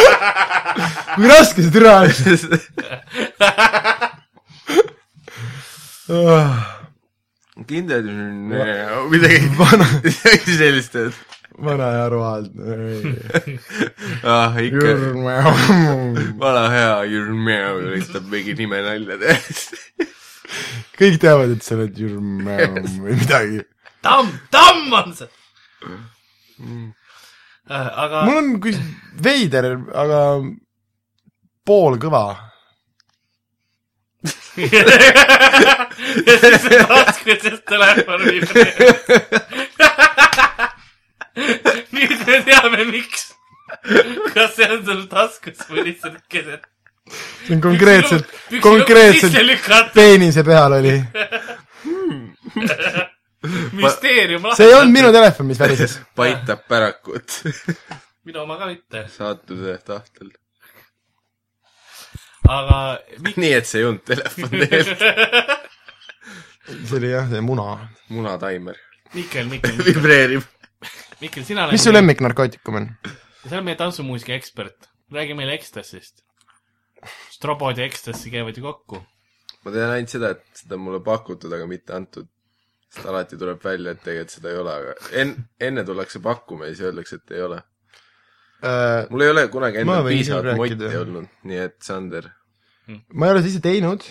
Speaker 3: kui raske see türa on Ah,
Speaker 4: kindlad , midagi ,
Speaker 3: vana ,
Speaker 4: midagi sellist , et
Speaker 3: vana ja Roald .
Speaker 4: ah ikka
Speaker 3: kõik
Speaker 4: vana hea Jürmjau üritab mingi nime nalja teha .
Speaker 3: teavad , et sa oled Jürmäe või midagi .
Speaker 2: tamm , tamm on see .
Speaker 4: Mm.
Speaker 2: aga
Speaker 3: mul on kui veider , aga poolkõva .
Speaker 2: ja siis see taskuses telefon vibreerib . nüüd me teame , miks . kas see on sul taskus või lihtsalt keset .
Speaker 3: see on konkreetselt , konkreetselt
Speaker 2: lükata ,
Speaker 3: peenise peal oli .
Speaker 2: müsteerium
Speaker 3: see ei olnud minu telefon , mis värises .
Speaker 4: paitab pärakut
Speaker 2: minu oma ka mitte ,
Speaker 4: saatuse tahtel .
Speaker 2: aga mi-
Speaker 4: nii et see ei olnud telefon tegelikult ,
Speaker 3: see oli jah , see muna .
Speaker 4: munataimer
Speaker 2: Mikkel , Mikkel ,
Speaker 4: vibreerib .
Speaker 2: Mikkel , sina oled
Speaker 3: mis su lemmiknarkootikum on ?
Speaker 2: sa oled meie tantsumuusika ekspert , räägi meile Ekstasist . strobod ja Ekstasi käivad ju kokku .
Speaker 4: ma tean ainult seda , et seda on mulle pakutud , aga mitte antud . sest alati tuleb välja , et tegelikult seda ei ole , aga en- , enne tullakse pakkuma ja siis öeldakse , et ei ole .
Speaker 3: Äh,
Speaker 4: mul ei ole kunagi
Speaker 3: Ma
Speaker 4: endal
Speaker 3: võin küll
Speaker 4: piisavalt
Speaker 3: rääkida.
Speaker 4: motti olnud , nii et Sander ,
Speaker 3: ma ei ole seda ise teinud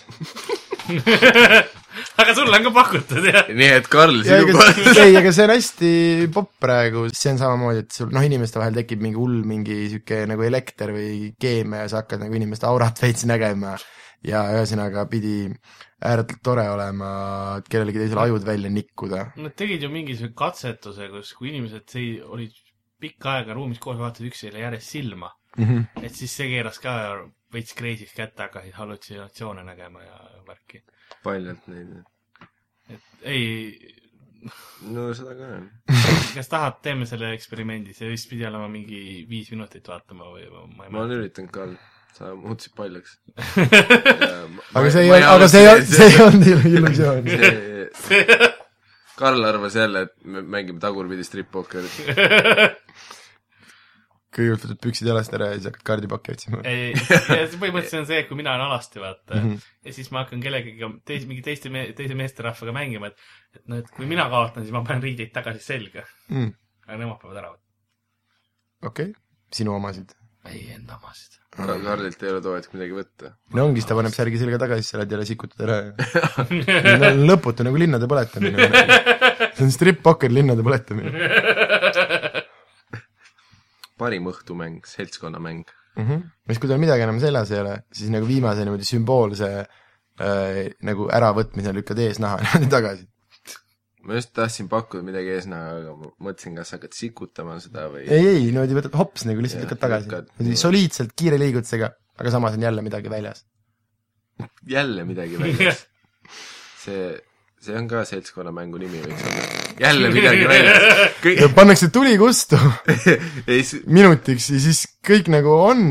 Speaker 2: aga sulle on ka pakutud , jah ?
Speaker 4: nii et Karl ,
Speaker 3: Ja
Speaker 4: sinu
Speaker 3: ega
Speaker 4: kohal
Speaker 3: see- ei , aga see on hästi popp praegu , see on samamoodi , et sul noh , inimeste vahel tekib mingi hull mingi sihuke nagu elekter või keemia ja sa hakkad nagu inimeste aurat veits nägema . ja ühesõnaga pidi ääretult tore olema , et kellelegi teisele ajud välja nikkuda .
Speaker 2: Nad tegid ju mingisuguse katsetuse , kus , kui inimesed sei- , olid pikka aega ruumis koos , vaatasid üksteisele järjest silma .
Speaker 3: Mhm.
Speaker 2: et siis see keeras ka veits kreisiks kätte , hakkasid hallutsinatsioone nägema ja värki .
Speaker 4: paljalt neid .
Speaker 2: et ei ,
Speaker 4: no seda ka on .
Speaker 2: kas tahad , teeme selle eksperimendi , see vist pidi olema mingi viis minutit vaatama või ma- ma ei mäleta .
Speaker 4: ma olen üritanud , Karl , sa muutusid paljaks .
Speaker 3: aga see ei olnud , aga see ei olnud , see ei olnud illu- illusioon .
Speaker 4: olnud . Karl arvas jälle , et me mängime tagurpidi strip-pokkerit .
Speaker 3: kõigepealt võtad püksid jalast ära ja siis hakkad kaardipakki otsima .
Speaker 2: ei , põhimõtteliselt see on see , et kui mina olen alasti , vaata
Speaker 3: Mhm.
Speaker 2: mm , -hmm. ja siis ma hakkan kellegagi , teise , mingi teiste , teise meesterahvaga mängima , et et noh , et kui mina kaotan , siis ma panen riideid tagasi selga ,
Speaker 3: Mhm.
Speaker 2: aga nemad peavad ära võtma .
Speaker 3: okei , sinu omasid .
Speaker 2: ei , enda omasid .
Speaker 4: Karlilt ei ole too hetk midagi võtta .
Speaker 3: no ongi , siis ta paneb särgi selga tagasi , sa lähed jälle sikutad ära ja no, lõputu nagu linnade põletamine . see on strip-pokker linnade põletamine
Speaker 4: parim õhtumäng , seltskonnamäng .
Speaker 3: mm . -hmm. siis , kui tal midagi enam seljas ei ole , siis nagu viimase niimoodi sümboolse äh, nagu äravõtmise lükkad ees naha niimoodi tagasi .
Speaker 4: ma just tahtsin pakkuda midagi eesnaha , aga ma mõtlesin , kas hakkad sikutama seda või
Speaker 3: ei , ei , niimoodi võtad hops nagu lihtsalt
Speaker 4: Jah,
Speaker 3: lükkad tagasi
Speaker 4: lükkad. .
Speaker 3: soliidselt , kiire liigutusega , aga samas on jälle midagi väljas .
Speaker 4: jälle midagi väljas . see , see on ka seltskonnamängu nimi võiks olla . jälle midagi väljas . kõik ,
Speaker 3: pannakse tuli kustu
Speaker 4: ei siis ,
Speaker 3: minutiks ja siis kõik nagu on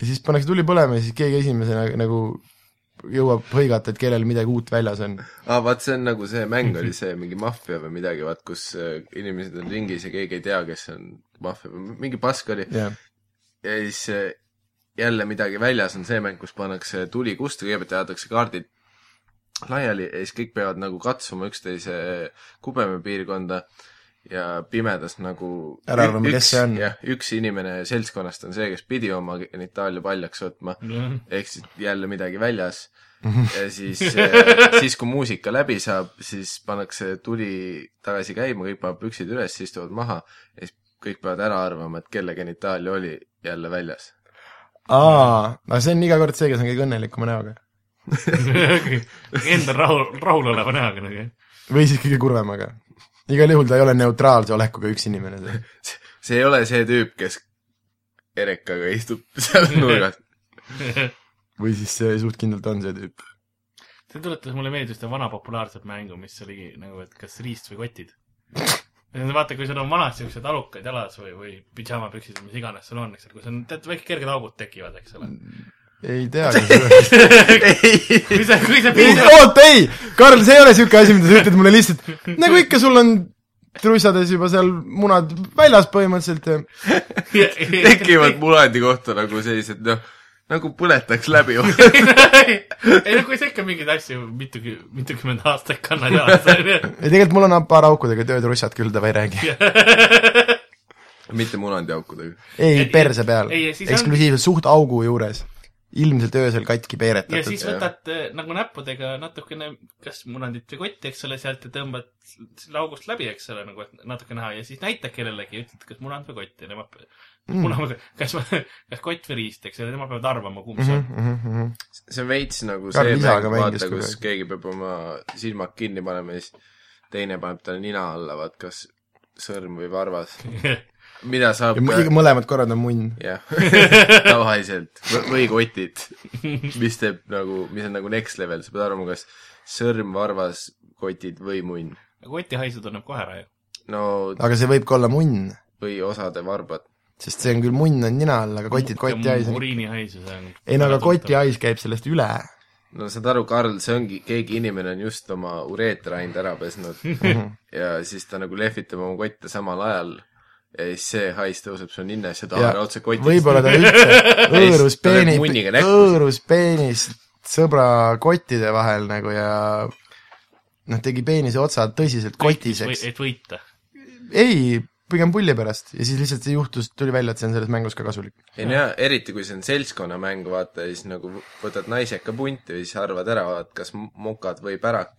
Speaker 3: ja siis pannakse tuli põlema ja siis keegi esimesena nagu jõuab hõigata , et kellel midagi uut väljas on .
Speaker 4: aa vaat see on nagu see mäng oli see mingi maffia või midagi , vaat kus äh, inimesed on ringis ja keegi ei tea , kes on maffia või mingi pask oli .
Speaker 3: jah ,
Speaker 4: ja siis äh, jälle midagi väljas on see mäng , kus pannakse tuli kustu , kõigepealt jäetakse kaardid laiali ja siis kõik peavad nagu katsuma üksteise kubemepiirkonda ja pimedas nagu
Speaker 3: Ära arvama,
Speaker 4: ü-
Speaker 3: kes
Speaker 4: üks-
Speaker 3: see on.
Speaker 4: jah , üks inimene seltskonnast on see , kes pidi oma genitaalia paljaks võtma , ehk siis jälle midagi väljas ja siis , siis kui muusika läbi saab , siis pannakse tuli tagasi käima , kõik panevad püksid üles , istuvad maha ja siis kõik peavad ära arvama , et kelle genitaalia oli jälle väljas .
Speaker 3: aa , aga see on iga kord see , kes on kõige õnnelikuma näoga .
Speaker 2: Enda rahul , rahuloleva näoga nagu .
Speaker 3: või siis kõige kurvemaga . igal juhul ta ei ole neutraalse olekuga üks inimene seal .
Speaker 4: see ei ole see tüüp , kes Erekaga istub seal nurgas .
Speaker 3: või siis see suht kindlalt on see tüüp .
Speaker 2: see tuletas mulle meelde ühte vana populaarset mängu , mis oligi nagu , et kas riist või kotid . vaata , kui sul on vanasti siuksed alukad jalas või , või pidžaamapüksid või mis iganes sul on , eks ole , kui sul on tead väike kerged augud tekivad , eks ole .
Speaker 3: ei tea , kas
Speaker 2: kui sa , kui sa
Speaker 3: ei ,
Speaker 2: piisab ,
Speaker 3: oota , ei , Karl , see ei ole niisugune asi , mida sa ütled mulle lihtsalt , nagu ikka , sul on trussades juba seal munad väljas põhimõtteliselt ja
Speaker 4: tekivad mulandi kohta nagu sellised noh , nagu põletaks läbi .
Speaker 2: ei no kui sa ikka mingeid asju mitukü- , mitukümmend aastat kannad jalas , onju .
Speaker 3: ja tegelikult mul on paar aukudega töötrussad küll , ta ei räägi .
Speaker 4: mitte munandiaukudega .
Speaker 3: ei , perse peal ,
Speaker 2: ei, ja siis on-
Speaker 3: eksklusiivselt suht augu juures , ilmselt öösel katki
Speaker 2: ja siis
Speaker 3: peeretatud .
Speaker 2: võtad eh, nagu näppudega natukene , kas munandit või kotti , eks ole , sealt ja tõmbad selle august läbi , eks ole , nagu et natuke näha ja siis näitad kellelegi , ütled , kas munand või kott ja nemad mm. , munand , kas , kas kott või riist , eks ole , nemad peavad arvama , kumb see on .
Speaker 3: Mhm,
Speaker 4: see on veits nagu
Speaker 3: Karl
Speaker 4: see
Speaker 3: isaga
Speaker 4: mäng ,
Speaker 3: mängis
Speaker 4: vaata , kus
Speaker 3: kogu aeg.
Speaker 4: keegi peab oma silmad kinni panema ja siis teine paneb talle nina alla , vaat kas sõrm või varvas . mida saab
Speaker 3: ja mõ- mõlemad korrad on munn .
Speaker 4: jah , tavaliselt V- või kotid , mis teeb nagu , mis on nagu next level , sa pead arvama , kas sõrm , varvas , kotid või munn .
Speaker 2: koti haisu tunneb kohe ära ju .
Speaker 4: no
Speaker 3: aga see võib ka olla munn ,
Speaker 4: või osade varbad .
Speaker 3: sest see on küll munn on nina all , aga kotid koti hais on .
Speaker 2: uriini haisu , see on .
Speaker 3: ei no aga koti . hais käib sellest üle .
Speaker 4: no saad aru , Karl , see ongi , keegi inimene on just oma ureetraind ära pesnud ja siis ta nagu lehvitab oma kotte samal ajal ja siis see hais tõuseb su ninnas ja ta haarab otse kotist .
Speaker 3: võib-olla ta üldse õõrus
Speaker 4: ta lööb
Speaker 3: peeni
Speaker 4: munniga , näkku.
Speaker 3: õõrus peenis sõbra kottide vahel nagu ja noh , tegi peenise otsa tõsiselt kotiseks .
Speaker 2: et võita .
Speaker 3: ei , pigem pulli pärast ja siis lihtsalt see juhtus , tuli välja , et see on selles mängus ka kasulik .
Speaker 4: ei no jaa , eriti kui see on seltskonnamäng , vaata , siis nagu võtad naiseka punti ja siis arvad ära , vaat kas m- mokad või pärak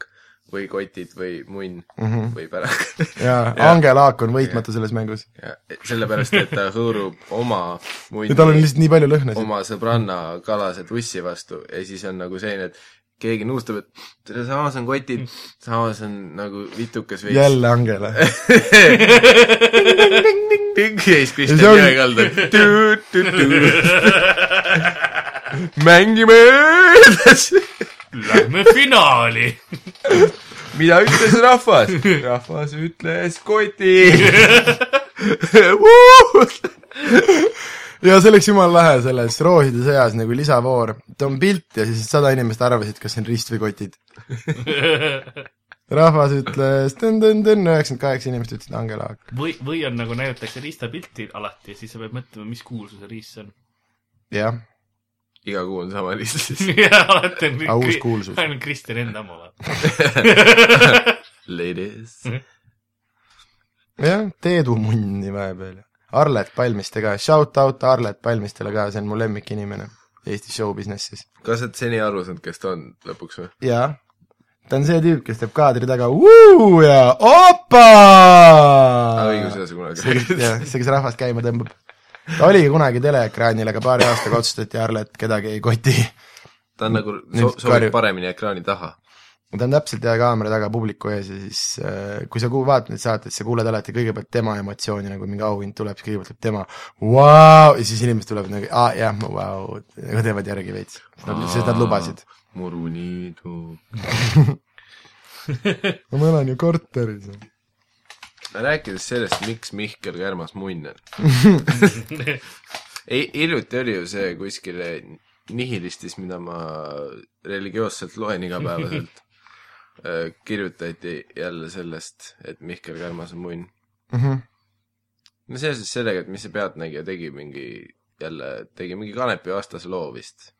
Speaker 4: või kotid või munn mm
Speaker 3: Mhm.
Speaker 4: -hmm. või pärak .
Speaker 3: ja Angel Haak on võitmatu selles mängus .
Speaker 4: ja sellepärast , et ta hõõrub oma munni
Speaker 3: ja tal on lihtsalt nii palju lõhnasid .
Speaker 4: oma sõbranna kalase tussi vastu ja siis on nagu selline , et keegi nõustub , et tere, samas on kotid , samas on nagu vitukas veits .
Speaker 3: jälle Angela .
Speaker 4: ja
Speaker 3: Ja
Speaker 4: siis
Speaker 3: see on-
Speaker 4: Kristjan Jõekald on . mängime edasi .
Speaker 2: Lähme finaali .
Speaker 4: mida ütles rahvas ? rahvas ütles koti .
Speaker 3: ja see oleks jumala lahe selles Rooside sõjas nagu lisavoor . ta on pilt ja siis sada inimest arvasid , kas see on rist või kotid . rahvas ütles tõn-tõn-tõn , üheksakümmend kaheksa inimest ütlesid Angela Haak .
Speaker 2: või , või on nagu näidatakse riistapilti alati ja siis sa pead mõtlema , mis kuulsuse riist see on .
Speaker 3: jah ,
Speaker 4: iga kuu on sama list siis .
Speaker 2: alati on
Speaker 3: Aga uus kuulsus.
Speaker 2: ainult Kristjan enda oma vaata .
Speaker 4: Ladies .
Speaker 3: jah , Teedu munni vahepeal . Arlet Palmiste ka , shout out Arlet Palmistele ka , see on mu lemmikinimene Eesti show business'is .
Speaker 4: kas sa oled seni aru saanud , kes ta on lõpuks või ?
Speaker 3: jaa , ta on see tüüp , kes teeb kaadri taga vuu ja opa
Speaker 4: aa , õigus , ei ole sa kunagi
Speaker 3: see , kes , jah ,
Speaker 4: rääkinud .
Speaker 3: see , kes rahvast käima tõmbab . ta oligi kunagi teleekraanil , aga paari aastaga otsustati Arlet kedagi ei koti .
Speaker 4: ta on nagu so,
Speaker 3: Nüüd karju-
Speaker 4: sobib paremini ekraani taha .
Speaker 3: ta on täpselt ja kaamera taga publiku ees ja siis äh, kui sa ku- vaatad neid saateid , sa kuuled alati kõigepealt tema emotsiooni , nagu mingi auhind tuleb , siis kõigepealt tuleb tema vau ja siis inimesed tulevad nagu aa jah , vau , nagu teevad järgi veits . sest nad lubasid .
Speaker 4: muruniidu .
Speaker 3: ma elan ju korteris .
Speaker 4: rääkides sellest , miks Mihkel Kärmas munn on . ei , hiljuti oli ju see kuskil nihilistis , mida ma religioosselt loen igapäevaselt . kirjutati jälle sellest , et Mihkel Kärmas on munn .
Speaker 3: Mhm.
Speaker 4: no seoses sellega , et mis see Pealtnägija tegi mingi , jälle tegi mingi Kanepi vastase loo vist .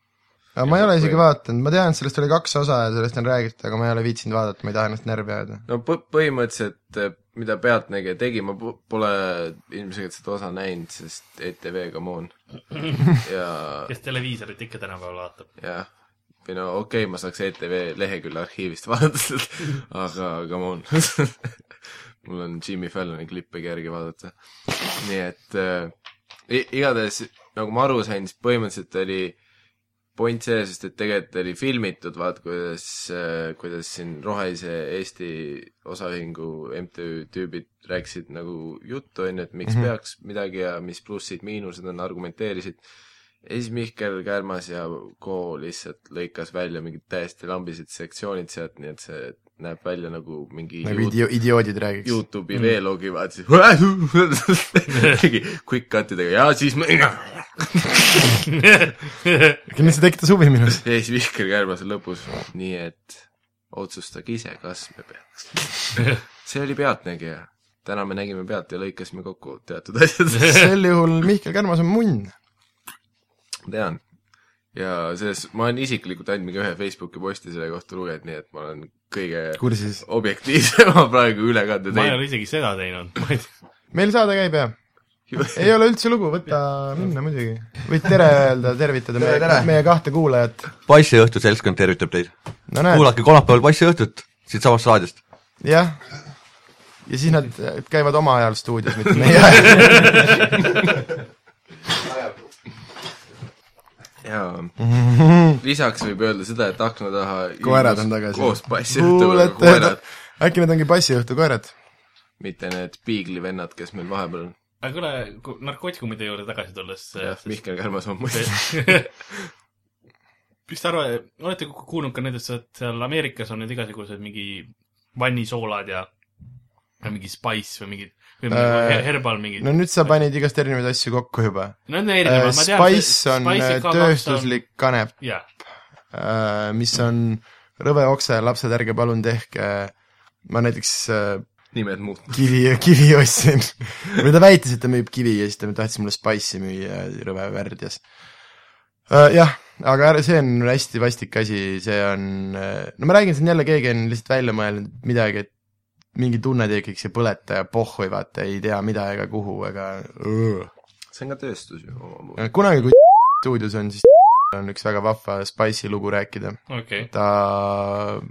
Speaker 3: aga ma ei ole isegi vaadanud , ma tean , et sellest oli kaks osa ja sellest on räägitud , aga ma ei ole viitsinud vaadata , ma ei taha ennast närvi ajada .
Speaker 4: no põ- , põhimõtteliselt eh, mida Pealtnägija tegi , ma pu- pole ilmselgelt seda osa näinud , sest E ETV , come on . ja ,
Speaker 2: kes televiisorit ikka tänapäeval vaatab ?
Speaker 4: jah , või no okei okay, , ma saaks ETV lehekülje arhiivist vaadata seda , aga come on . mul on Jimmy Falloni klippe kerge vaadata . nii et äh, i- igatahes , nagu ma aru sain , siis põhimõtteliselt oli point see , sest et tegelikult oli filmitud , vaat kuidas , kuidas siin Rohelise Eesti osaühingu MTÜ tüübid rääkisid nagu juttu , on ju , et miks mm -hmm. peaks midagi ja mis plussid-miinused on , argumenteerisid . ja siis Mihkel Kärmas ja Ko lihtsalt lõikas välja mingid täiesti lambised sektsioonid sealt , nii et see näeb välja nagu mingi
Speaker 3: nagu
Speaker 4: juut-
Speaker 3: idio- , idioodid räägiks .
Speaker 4: Youtube'i mm. veeloogi vaatasin , tegi quick cut idega ja siis ma ja
Speaker 3: kindlasti tekitas huvi minus .
Speaker 4: siis Vihkel Kärblas lõpus , nii et otsustage ise , kas me peaks . see oli Pealtnägija , täna me nägime pealt ja lõikasime kokku teatud asjad ,
Speaker 3: sel juhul Mihkel Kärmas on munn .
Speaker 4: tean . ja selles , ma olen isiklikult ainult mingi ühe Facebooki posti selle kohta lugenud , nii et ma olen kõige
Speaker 3: kursis .
Speaker 4: objektiivsema praegu ülekande
Speaker 2: ma ei
Speaker 4: teinud .
Speaker 2: ole isegi seda teinud .
Speaker 3: meil saade käib ja ei ole üldse lugu , võta minna muidugi . võid tere öelda , tervitada meie,
Speaker 5: tere.
Speaker 3: meie kahte kuulajat .
Speaker 5: passiõhtu seltskond tervitab teid .
Speaker 3: no näed ,
Speaker 5: kuulake kolmapäeval passiõhtut siitsamast raadiost .
Speaker 3: jah . ja siis nad käivad oma ajal stuudios , mitte meie ajal .
Speaker 4: jaa , lisaks võib öelda seda , et akna taha
Speaker 3: Koerad on tagasi.
Speaker 4: koos passi õhtul
Speaker 3: kuulete
Speaker 4: koerad ,,
Speaker 3: äkki need ongi bassiõhtu koerad ?
Speaker 4: mitte need piiglivennad , kes meil vahepeal on .
Speaker 2: aga kuule , narkootikumide juurde tagasi tulles . äh,
Speaker 4: jah , Mihkel Kärmas on muidugi .
Speaker 2: mis te arvate , olete ku- kuulnud ka nendest , et seal Ameerikas on need igasugused mingi vannisoolad ja , ja mingi spice või mingid , või
Speaker 3: Äh,
Speaker 2: mingi herbal mingid
Speaker 3: no
Speaker 2: no, .
Speaker 3: nüüd sa panid igast erinevaid asju kokku juba .
Speaker 2: Need on erinevad , ma tean .
Speaker 3: Äh, Spice on äh, . tööstuslik kanep ,
Speaker 2: jah ,
Speaker 3: mis on rõve okse , lapsed , ärge palun tehke . ma näiteks äh,
Speaker 4: nimed muutma .
Speaker 3: kivi , kivi ostsin . või ta väitis , et ta müüb kivi ja siis ta tahtis mulle Spice'i müüa rõve värdjas . jah , aga ära- see on hästi vastik asi , see on , no ma räägin siin jälle , keegi on lihtsalt välja mõelnud midagi , et mingi tunne tekiks ja põletaja pohhui , vaata , ei tea mida ega kuhu ega
Speaker 4: see on ka tööstus ju omamoodi .
Speaker 3: kunagi , kui stuudios on , siis on üks väga vahva Spice'i lugu rääkida .
Speaker 2: okei .
Speaker 3: ta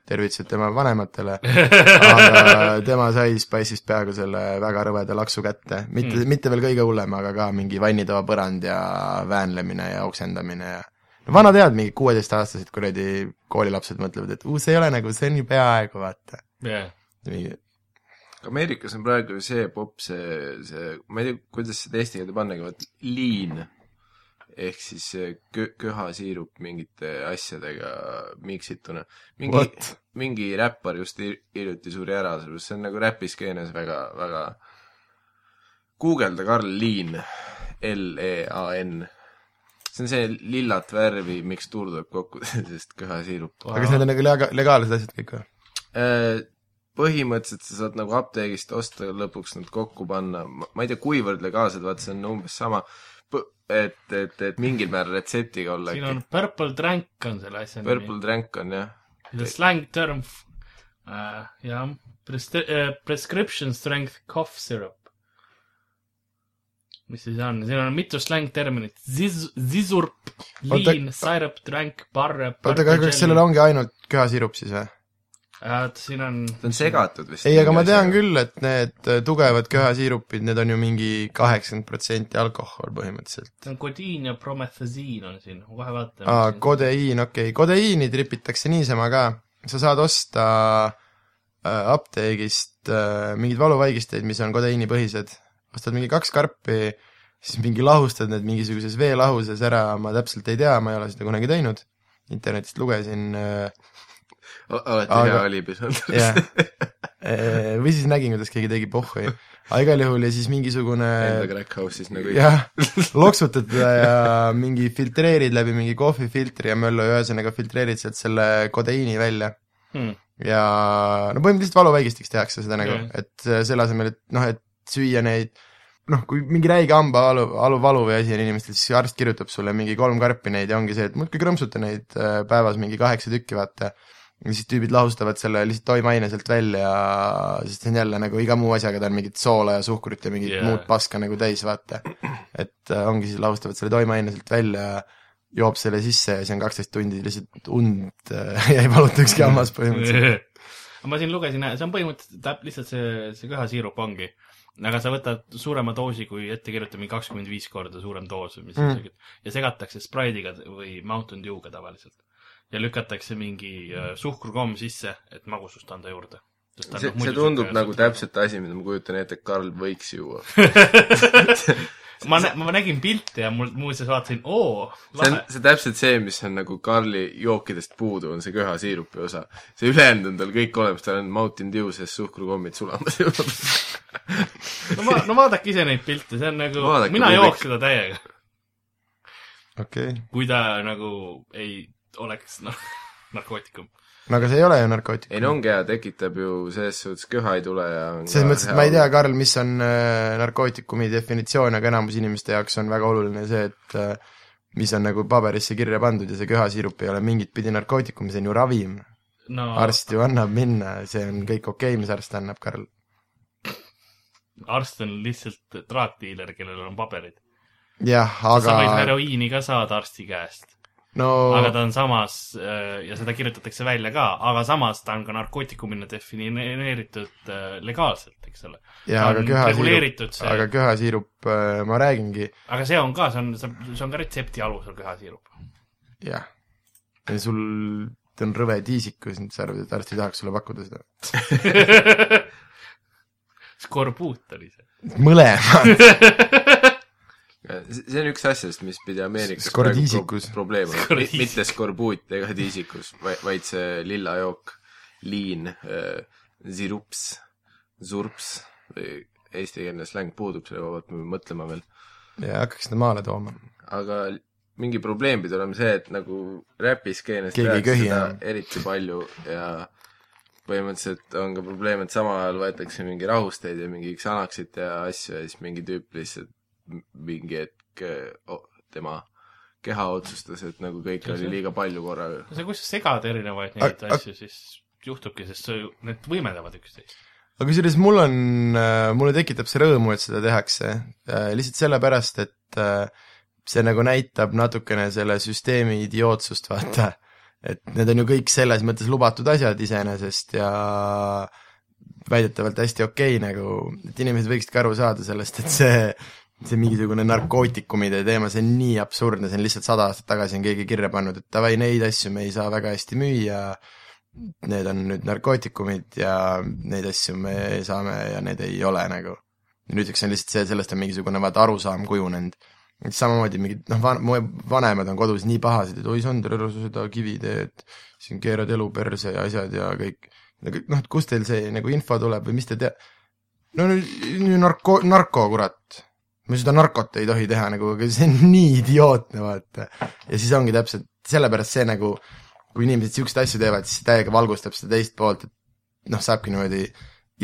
Speaker 3: tervitas tema vanematele , aga tema sai Spice'ist peaaegu selle väga rõveda laksu kätte . mitte mm. , mitte veel kõige hullem , aga ka mingi vannitoa põrand ja väänlemine ja oksendamine ja no vana tead , mingid kuueteistaastased kuradi koolilapsed mõtlevad , et uh, see ei ole nagu , see on ju peaaegu , vaata .
Speaker 2: jah ,
Speaker 3: mingi
Speaker 4: Ameerikas on praegu ju see popp , see , see , ma ei tea , kuidas seda eesti keelde pannagi , vot liin ehk siis see kö- , köhasiirup mingite asjadega miksituna . mingi
Speaker 3: What? ,
Speaker 4: mingi räppar just hil- hiljuti suri ära , sellepärast see on nagu räpiskeenes väga , väga guugelda Karl Liin , L-E-A-N . see on see lillat värvi mikstuur tuleb kokku , sest köhasiirup .
Speaker 3: aga kas need on nagu lega- legaalsed asjad kõik või ?
Speaker 4: Äh, põhimõtteliselt sa saad nagu apteegist osta ja lõpuks nad kokku panna , ma ei tea , kuivõrd legaalsed , vaat see on umbes sama , et , et , et mingil määral retseptiga olla
Speaker 2: siin
Speaker 4: äkki
Speaker 2: on . Purple Drank on selle asja
Speaker 4: Purple Drank on jah ,
Speaker 2: nimi . The slang term uh, , jah . Uh, prescription strength cough syrup . mis see siis on , siin on mitu slang terminit . Zis- , zisurp ,
Speaker 3: Oota-
Speaker 2: liin , syrup , drank , barre .
Speaker 3: oota , aga kas sellel ongi ainult köhasirup siis või ?
Speaker 2: uh, ? siin on ,
Speaker 4: ta on segatud vist .
Speaker 3: ei , aga ma tean . küll , et need äh, tugevad köhasirupid , need on ju mingi kaheksakümmend protsenti alkohol põhimõtteliselt .
Speaker 2: see on kodiin ja promethasiin on siin , kohe vaatame
Speaker 3: aa ,. kodeiin , okei okay. , kodeiini tripitakse niisama ka , sa saad osta äh, apteegist äh, mingeid valuvaigisteid , mis on kodeiinipõhised , ostad mingi kaks karpi , siis mingi lahustad need mingisuguses veelahuses ära , ma täpselt ei tea , ma ei ole seda kunagi teinud , internetist lugesin äh, ,
Speaker 4: olete
Speaker 3: Aga-
Speaker 4: hea alibis olnud .
Speaker 3: jah , äh, või siis nägin , kuidas keegi tegi pohhui , aga igal juhul ja siis mingisugune
Speaker 4: Enda crack house'is nagu ikka .
Speaker 3: Äh, jah , loksutad teda ja mingi filtreerid läbi mingi kohvifiltri ja möllu ja ühesõnaga filtreerid sealt selle kodeiini välja .
Speaker 2: Hmm.
Speaker 3: ja no põhimõtteliselt valuvaigistiks tehakse seda nagu
Speaker 2: Jah.
Speaker 3: yeah. , et äh, selle asemel , et noh , et süüa neid noh , kui mingi räige hambavalu , valuvalu või asi on inimestel , siis arst kirjutab sulle mingi kolm karpi neid ja ongi see , et muudkui krõmpsuta neid äh, päevas mingi kaheksa tükki , vaata . ja siis tüübid lahustavad selle lihtsalt toimeaine sealt välja ja siis see on jälle nagu iga muu asjaga , ta on mingit soola ja suhkrut ja mingit
Speaker 2: Jaa.
Speaker 3: yeah. muud paska nagu täis , vaata . et äh, ongi siis lahustavad selle toimeaine sealt välja ja joob selle sisse ja siis on kaksteist tundi lihtsalt und äh, jäi valuta ükski hammas põhimõtteliselt .
Speaker 2: Aga ma siin lugesin , see on põhimõtteliselt täp- , lihtsalt see , see köhasiirup ongi . aga sa võtad suurema doosi , kui ette kirjutab mingi kakskümmend viis korda suurem doos või mis
Speaker 3: Mm.
Speaker 2: mm. ja segatakse Sprite'iga või Mountain Dew'ga tavaliselt . ja lükatakse mingi äh, suhkrukomm sisse , et magusust anda juurde .
Speaker 4: see , see tundub nagu . täpselt asi , mida ma kujutan ette , et Karl võiks juua .
Speaker 2: ma , ma nägin pilte ja mul muuseas vaatasin , oo ,
Speaker 4: see on
Speaker 2: lahe ,
Speaker 4: see täpselt see , mis on nagu Karli jookidest puudu , on see köhasiirupi osa . see ülejäänud on tal kõik olemas , tal on Mountain Dew sees suhkrukommid sulamas ja
Speaker 2: no ma , no vaadake ise neid pilte , see on nagu ,
Speaker 4: Vaadake,
Speaker 2: mina
Speaker 4: publik.
Speaker 2: jooks seda täiega ,
Speaker 3: okei okay. ,
Speaker 2: kui ta nagu ei oleks noh , narkootikum .
Speaker 3: no aga see ei ole ju narkootik .
Speaker 4: ei no ongi hea , tekitab ju selles suhtes köha ei tule ja on
Speaker 3: selles
Speaker 4: ka
Speaker 3: mõttes , et
Speaker 4: hea
Speaker 3: ma ei tea
Speaker 4: olla. ,
Speaker 3: Karl , mis on äh, narkootikumi definitsioon , aga enamus inimeste jaoks on väga oluline see , et äh, mis on nagu paberisse kirja pandud ja see köhasirup ei ole mingit pidi narkootikum , see on ju ravim .
Speaker 2: no
Speaker 3: arst ju annab minna , see on kõik okei okay, , mis arst annab , Karl .
Speaker 2: arst on lihtsalt traakdiiler , kellel on paberid .
Speaker 3: jah ,
Speaker 2: sa võid
Speaker 3: aga Oh.
Speaker 2: heroiini ka saada arsti käest ,
Speaker 3: no
Speaker 2: aga ta on samas äh, ja seda kirjutatakse välja ka , aga samas ta on ka narkootikumina defineeritud äh, legaalselt , eks ole .
Speaker 3: jah , aga
Speaker 2: on reguleeritud
Speaker 3: köhasirup ,
Speaker 2: see-
Speaker 3: aga köhasirup , ma räägingi ,
Speaker 2: aga see on ka , see on , see on ka retsepti alusel köhasiirup .
Speaker 3: jah . sul on rõve tiisikus , sa arvad , et arst ei tahaks sulle pakkuda seda ?
Speaker 2: skorbuut oli see .
Speaker 3: mõlemad ,
Speaker 4: see see on üks asjadest , mis pidi Ameerikas
Speaker 3: Skordiisikus.
Speaker 4: pro- probleem olema ,
Speaker 2: Skordiisikus.
Speaker 4: mitte skorbuut ega diisikus , vaid see lilla jook , liin äh, , zirups , zurps , eestikeelne släng puudub selle koha pealt , me peame mõtlema veel .
Speaker 3: ja hakkaks seda maale tooma .
Speaker 4: aga mingi probleem pidi olema see , et nagu räpiskeenes
Speaker 3: Keegi ei köhi
Speaker 4: seda
Speaker 3: enam.
Speaker 4: eriti palju ja põhimõtteliselt on ka probleem , et samal ajal võetakse mingi rahusteid ja mingi Xanaxit ja asju ja siis mingi tüüp lihtsalt m- mingi hetk oh, tema keha otsustas , et nagu kõike oli liiga palju korraga .
Speaker 2: no see , kui sa segad erinevaid neid
Speaker 3: Aga- aga-
Speaker 2: asju , siis juhtubki , sest see , need võimendavad üksteist .
Speaker 3: aga kusjuures mul on , mulle tekitab see rõõmu , et seda tehakse , lihtsalt sellepärast , et äh, see nagu näitab natukene selle süsteemi idiootsust , vaata . et need on ju kõik selles mõttes lubatud asjad iseenesest ja väidetavalt hästi okei okay, nagu , et inimesed võiksid ka aru saada sellest , et see , see mingisugune narkootikumide teema , see on nii absurdne , see on lihtsalt sada aastat tagasi on keegi kirja pannud , et davai , neid asju me ei saa väga hästi müüa need on nüüd narkootikumid ja neid asju me saame ja need ei ole nagu . nüüdseks on lihtsalt see , sellest on mingisugune vaata arusaam kujunenud . samamoodi mingid noh , van- , mu vanemad on kodus nii pahased , et oi Sander , ära sa seda kivi tee , et siin keerad elu perse ja asjad ja kõik . noh , et kust teil see nagu info tuleb või mis te tea- , no nüüd narko , narko kurat me seda narkot ei tohi teha nagu , aga see on nii idiootne , vaata . ja siis ongi täpselt sellepärast see nagu , kui inimesed siukseid asju teevad , siis see täiega valgustab seda teist poolt , et noh , saabki niimoodi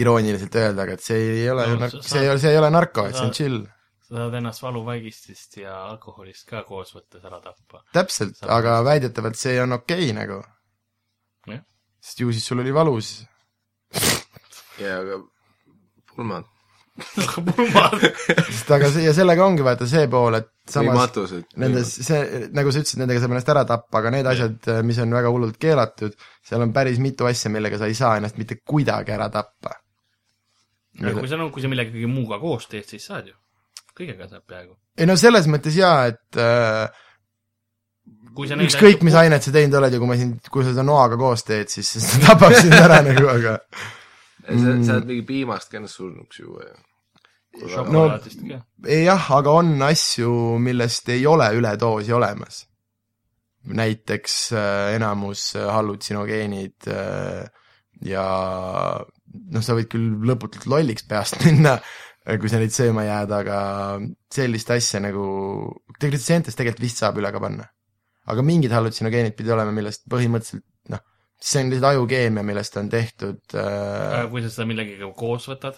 Speaker 3: irooniliselt öelda , aga et see ei ole ju
Speaker 2: No,
Speaker 3: nark-
Speaker 2: sa ,
Speaker 3: see ei ole , see ei ole narko , et see on
Speaker 2: saad-
Speaker 3: chill .
Speaker 2: sa saad ennast valuvaigistisest ja alkoholist ka koos võttes ära tappa .
Speaker 3: täpselt ,
Speaker 2: saad-
Speaker 3: aga väidetavalt see on okei okay, nagu .
Speaker 2: Jah.
Speaker 3: sest ju siis sul oli valus .
Speaker 4: jaa , aga pulmad
Speaker 3: sest aga see , ja sellega ongi vaata see pool , et
Speaker 4: või
Speaker 3: samas
Speaker 4: matused .
Speaker 3: nendes , see , nagu sa ütlesid , nendega saab ennast ära tappa , aga need asjad , mis on väga hullult keelatud , seal on päris mitu asja , millega sa ei saa ennast mitte kuidagi ära tappa .
Speaker 2: kui sa , kui sa millegagi muuga koos teed , siis saad ju . kõigega saab peaaegu .
Speaker 3: ei no selles mõttes jaa , et äh,
Speaker 2: kui sa neid
Speaker 3: ükskõik ,
Speaker 2: asju-
Speaker 3: mis ainet sa teinud oled ja kui ma sind , kui sa seda noaga koos teed , siis see tapab sind ära nagu , aga
Speaker 4: sa , sa
Speaker 3: Mm.
Speaker 4: oled mingi piimast ka ennast surnuks juua ju .
Speaker 2: šokolaadist ka .
Speaker 3: ei, jah , aga on asju , millest ei ole üledoosi olemas . näiteks äh, enamus äh, hallutsinogeenid äh, ja noh , sa võid küll lõputult lolliks peast minna , kui sa neid sööma jääd , aga sellist asja nagu , tegelikult seentest tegelikult vist saab üle ka panna . aga mingid hallutsinogeenid pidi olema , millest põhimõtteliselt noh , see on lihtsalt ajukeemia , millest on tehtud äh,
Speaker 2: aga kui sa seda millegagi koos võtad ,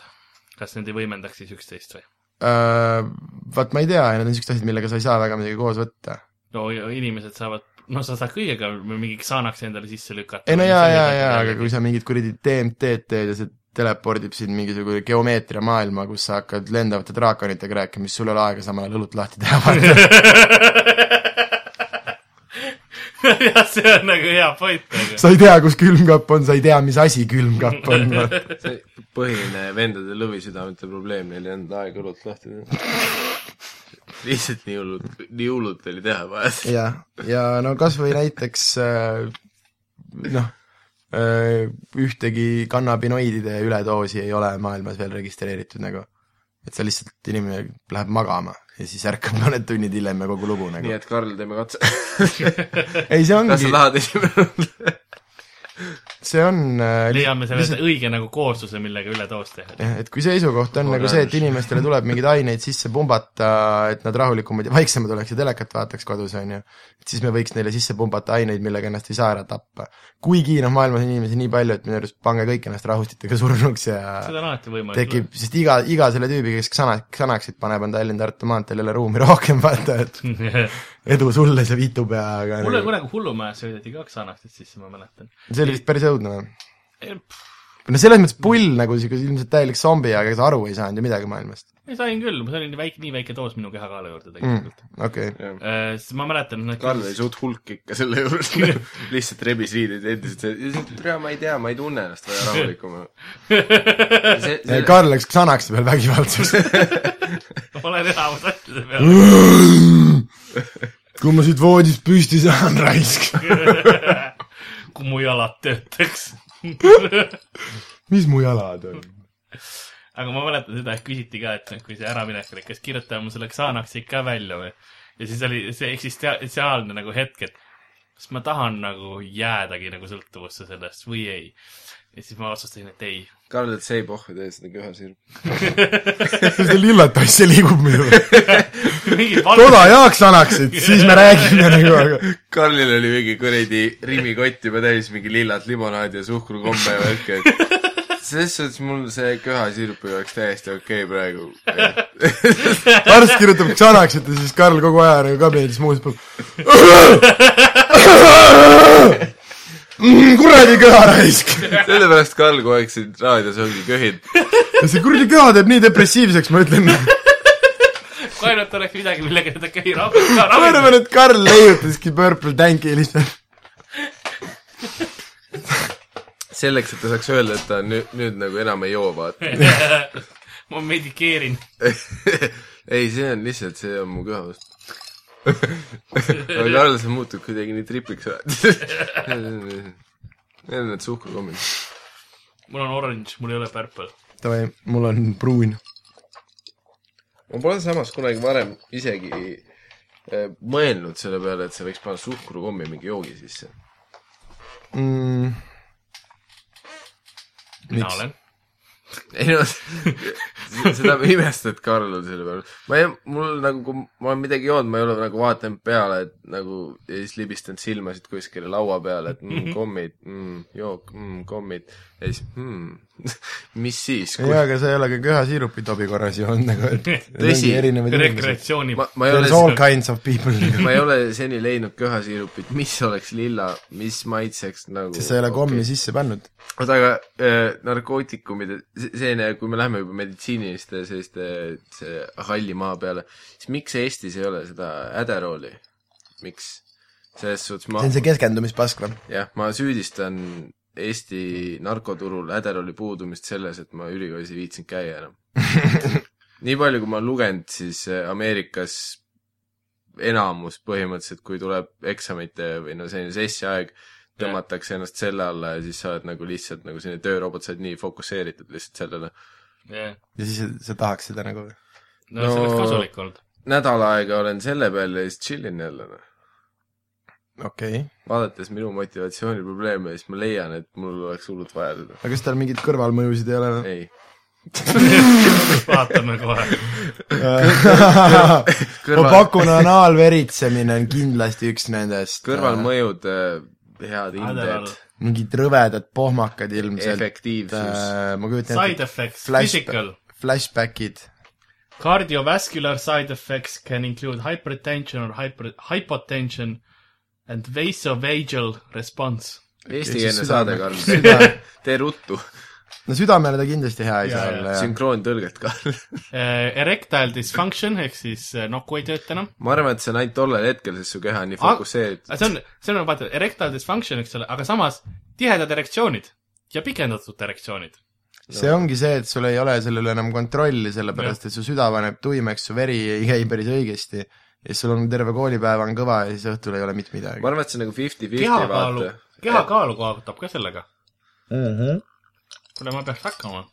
Speaker 2: kas need ei võimendaks siis üksteist või ?
Speaker 3: Äh, vaat ma ei tea , need on niisugused asjad , millega sa ei saa väga midagi koos võtta .
Speaker 2: no ja inimesed saavad , no sa saad kõigega mingiks saanaks endale sisse lükata .
Speaker 3: ei no jaa , jaa , jaa , aga kui sa mingit kuradi DMT-d teed ja see telepordib sind mingisugune geomeetriamaailma , kus sa hakkad lendavate draakonitega rääkima , siis sul ei ole aega samal ajal õlut lahti teha , vaata .
Speaker 2: jah , see on nagu hea point , aga
Speaker 3: sa ei tea , kus külmkapp on , sa ei tea , mis asi külmkapp on , vaata .
Speaker 4: see põhiline vendade lõvisüdamete probleem , neil ei olnud aega õlut lahti teha . lihtsalt nii hullult , nii hullult oli teha vaja .
Speaker 3: jah , ja no kas või näiteks äh, noh , ühtegi kannabinoidide üledoosi ei ole maailmas veel registreeritud nagu . et see lihtsalt , inimene läheb magama ja siis ärkab mõned tunnid hiljem ja kogu lugu nagu
Speaker 4: nii . et Karl , teeme katse .
Speaker 3: ei , see
Speaker 4: kas sa
Speaker 3: ongi ,
Speaker 4: tahad esimene olla ?
Speaker 3: see on äh, li-
Speaker 2: leiame selle
Speaker 3: lihtsalt-
Speaker 2: õige nagu koosluse , millega üledoos teha .
Speaker 3: jah , et kui seisukoht on nagu see , et inimestele tuleb mingeid aineid sisse pumbata , et nad rahulikumad ja vaiksemad oleks ja telekat vaataks kodus , on ju , et siis me võiks neile sisse pumbata aineid , millega ennast ei saa ära tappa . kuigi noh , maailmas on inimesi nii palju , et minu arust pange kõik ennast rahustitega surnuks ja
Speaker 2: seda on alati võimalik
Speaker 3: tekib , sest iga , iga selle tüübi , kes sana- , sanaksid paneb , on Tallinn-Tartu maanteel jälle ruumi rohkem , vaata , et
Speaker 2: teha .
Speaker 3: edu sulle , see vitupea , aga
Speaker 2: mulle
Speaker 3: nagu,
Speaker 2: kunagi hullumajas söödeti kaks anaktit sisse , ma mäletan . E,
Speaker 3: see oli vist päris õudne või ? no selles mõttes pull nagu sihuke ilmselt täielik zombi , aga ega sa aru ei saanud ju midagi maailmast .
Speaker 2: ei , sain küll , see oli nii väike , nii väike doos minu kehakaalu juurde
Speaker 3: Mm,
Speaker 2: tegelikult mm. .
Speaker 3: okei okay. ,
Speaker 2: siis ma mäletan , et
Speaker 4: Karl oli suht hulk ikka selle juures , lihtsalt rebis riideid endiselt , lihtsalt , tere , ma ei tea , ma ei tunne ennast väga rahulikuma . see ,
Speaker 3: Karl läks Xanaxi peal vägivaldseks .
Speaker 2: olen enamus asjade peal .
Speaker 3: kui ma siit voodist püsti saan , raisk .
Speaker 2: kui mu jalad töötaks .
Speaker 3: mis mu jalad on ?
Speaker 2: aga ma mäletan seda , et küsiti ka , et kui see äraminek oli , kas kirjutame selle Xanaxi ikka välja või ? ja siis oli see eksistentsiaalne nagu hetk , et kas ma tahan nagu jäädagi nagu sõltuvusse sellest või ei . ja siis ma otsustasin , et ei .
Speaker 4: Karl , et see ei pohhu , tee seda köhasirm .
Speaker 3: see lillat asja liigub minu .
Speaker 2: mingi
Speaker 3: toda jaoks Xanaxit , siis me räägime nagu , aga
Speaker 4: Karlil oli mingi kuradi rimikott juba täis mingi lillat limonaadi ja suhkrukomme ja värki , et selles suhtes mul see köhasirp ei oleks täiesti okei okay praegu .
Speaker 3: arst kirjutab Xanaxit ja siis Karl kogu aja nagu kabinetis muuseb . Mm, kuradi köharaisk .
Speaker 4: sellepärast Karl kogu aeg siin raadios ongi köhinud .
Speaker 3: see kuradi köha teeb nii depressiivseks , ma ütlen .
Speaker 2: kui ainult oleks midagi , millega seda köhi rahuldada .
Speaker 3: ma arvan , et Karl leiutaski Purple Tanki lihtsalt .
Speaker 4: selleks , et ta saaks öelda , et ta nüüd , nüüd nagu enam ei joo , vaata .
Speaker 2: ma medikeerin .
Speaker 4: ei , see on lihtsalt , see on mu köhas . aga Karl , sa muutud kuidagi nii tripiks ära . Need on need suhkrukommid .
Speaker 2: mul on orange , mul ei ole purple .
Speaker 3: Davai , mul on pruun .
Speaker 4: ma pole samas kunagi varem isegi eh, mõelnud selle peale , et sa võiks panna suhkrukommi mingi joogi sisse .
Speaker 3: mm, .
Speaker 2: mina
Speaker 3: Miks?
Speaker 2: olen .
Speaker 4: ei no , seda ma ei imesta , et Karl on selle peal . ma ei , mul nagu , kui ma olen midagi joonud , ma ei ole nagu vaadanud peale , et nagu ja siis libistanud silmasid kuskile laua peale , et mm, kommid mm, , jook mm, , kommid ja siis mm, mis siis ,
Speaker 3: jaa , aga sa ei ole ka köhasiirupit obi korras joonud nagu , et
Speaker 4: Tõsi.
Speaker 3: rekreatsioon .
Speaker 2: rekreatsiooni
Speaker 4: ma , ma ei ole
Speaker 3: There's all kinds of people nagu ,
Speaker 4: ma ei ole seni leidnud köhasiirupit , mis oleks lilla , mis maitseks nagu .
Speaker 3: sest sa ei ole kommi okay. sisse pannud .
Speaker 4: oota , aga äh, narkootikumide , selline , kui me läheme juba meditsiiniliste selliste see halli maa peale , siis miks Eestis ei ole seda Adderalli ? miks ? selles suhtes ma
Speaker 3: see , on see keskendumispask või ?
Speaker 4: jah , ma süüdistan Eesti narkoturul Adderalli puudumist selles , et ma ülikoolis ei viitsinud käia enam . nii palju , kui ma olen lugenud , siis äh, Ameerikas enamus põhimõtteliselt , kui tuleb eksamite või no selline sessiaeg , tõmmatakse ennast selle alla ja siis sa oled nagu lihtsalt nagu selline töörobot , sa oled nii fokusseeritud lihtsalt sellele .
Speaker 2: yeah. .
Speaker 3: ja siis sa- sa tahaks seda nagu või ?
Speaker 2: no, no see oleks
Speaker 4: No-
Speaker 2: kasulik olnud .
Speaker 4: nädal aega olen selle peal ja siis chillin jälle noh .
Speaker 3: okei okay. .
Speaker 4: vaadates minu motivatsiooniprobleeme , siis ma leian , et mul oleks hullult vaja seda .
Speaker 3: aga kas tal mingeid kõrvalmõjusid ei ole või ?
Speaker 4: ei .
Speaker 2: vaatame kohe .
Speaker 3: Äh. ma pakun , anaalveritsemine on kindlasti üks nendest .
Speaker 4: kõrvalmõjud , head hinded ,
Speaker 3: mingid rõvedad pohmakad ilmselt .
Speaker 4: efektiivsus .
Speaker 3: ma kujutan
Speaker 2: Side
Speaker 3: ette ,
Speaker 2: effects ,
Speaker 3: Flashback.
Speaker 2: physical .
Speaker 3: flashbackid .
Speaker 2: Cardiovascular side effects can include hypertension or hyper , hypotension and vasovagal response .
Speaker 4: Eestikeelne saade , Karl .
Speaker 3: no
Speaker 4: tee ruttu .
Speaker 3: südamele ta kindlasti hea ei saa
Speaker 2: Jaa, jaa.
Speaker 3: olla , jah .
Speaker 4: sünkroontõlget , Karl .
Speaker 2: Eh, Erectile dysfunction ehk siis eh, nokku ei tööta enam .
Speaker 4: ma arvan , et see on ainult tollel hetkel , sest su keha on nii
Speaker 2: Aga-
Speaker 4: fokusseeritud .
Speaker 2: see on , see on nagu vaata erectile dysfunction , eks ole , aga samas tihedad erektsioonid ja pikendatud erektsioonid .
Speaker 3: see ongi see , et sul ei ole sellele enam kontrolli , sellepärast et su süda paneb tuimeks , su veri ei käi päris õigesti ja siis sul on terve koolipäev on kõva ja siis õhtul ei ole mitte midagi
Speaker 4: ma . arvan , et see on nagu fifty-fifty ,
Speaker 2: kehakaalu
Speaker 4: vaata .,
Speaker 2: kehakaalu kaotab ka sellega .
Speaker 3: Mhm.
Speaker 2: kuule , ma peaks hakkama .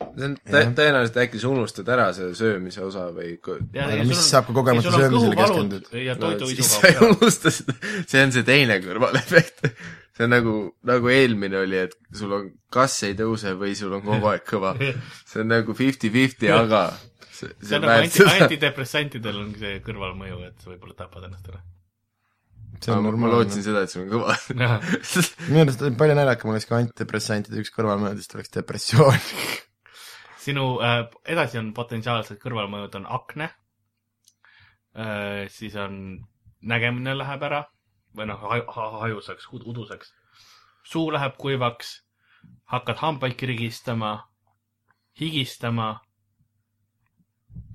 Speaker 4: see on tä- tõenäoliselt äkki sa unustad ära selle söömise osa või kui-
Speaker 3: Aga mis saab, kui kogemata söömisele keskendud? ?
Speaker 2: ja
Speaker 4: no,
Speaker 2: toidu
Speaker 4: siis
Speaker 2: isu
Speaker 4: sa ei
Speaker 2: kaob ära .
Speaker 4: unusta seda , see on see teine kõrvalefekt . see on nagu , nagu eelmine oli , et sul on kas ei tõuse või sul on kogu aeg kõva . see on nagu fifty-fifty , aga see,
Speaker 2: see
Speaker 4: see
Speaker 2: on nagu
Speaker 4: väärt
Speaker 2: anti ,
Speaker 4: seda .
Speaker 2: antidepressantidel on see kõrvalmõju , et sa võib-olla tapad ennast ära .
Speaker 3: see on
Speaker 4: ma
Speaker 3: normaalne
Speaker 4: lootsin . seda , et sul on kõva .
Speaker 3: minu arust oli palju naljakam oleks , kui antidepressantide üks kõrvalmõjudest oleks depressioon .
Speaker 2: sinu äh, , edasi on potentsiaalsed kõrvalmõjud on akne äh, , siis on nägemine läheb ära või noh , hajusaks , uduseks . suu läheb kuivaks , hakkad hambaid kirgistama , higistama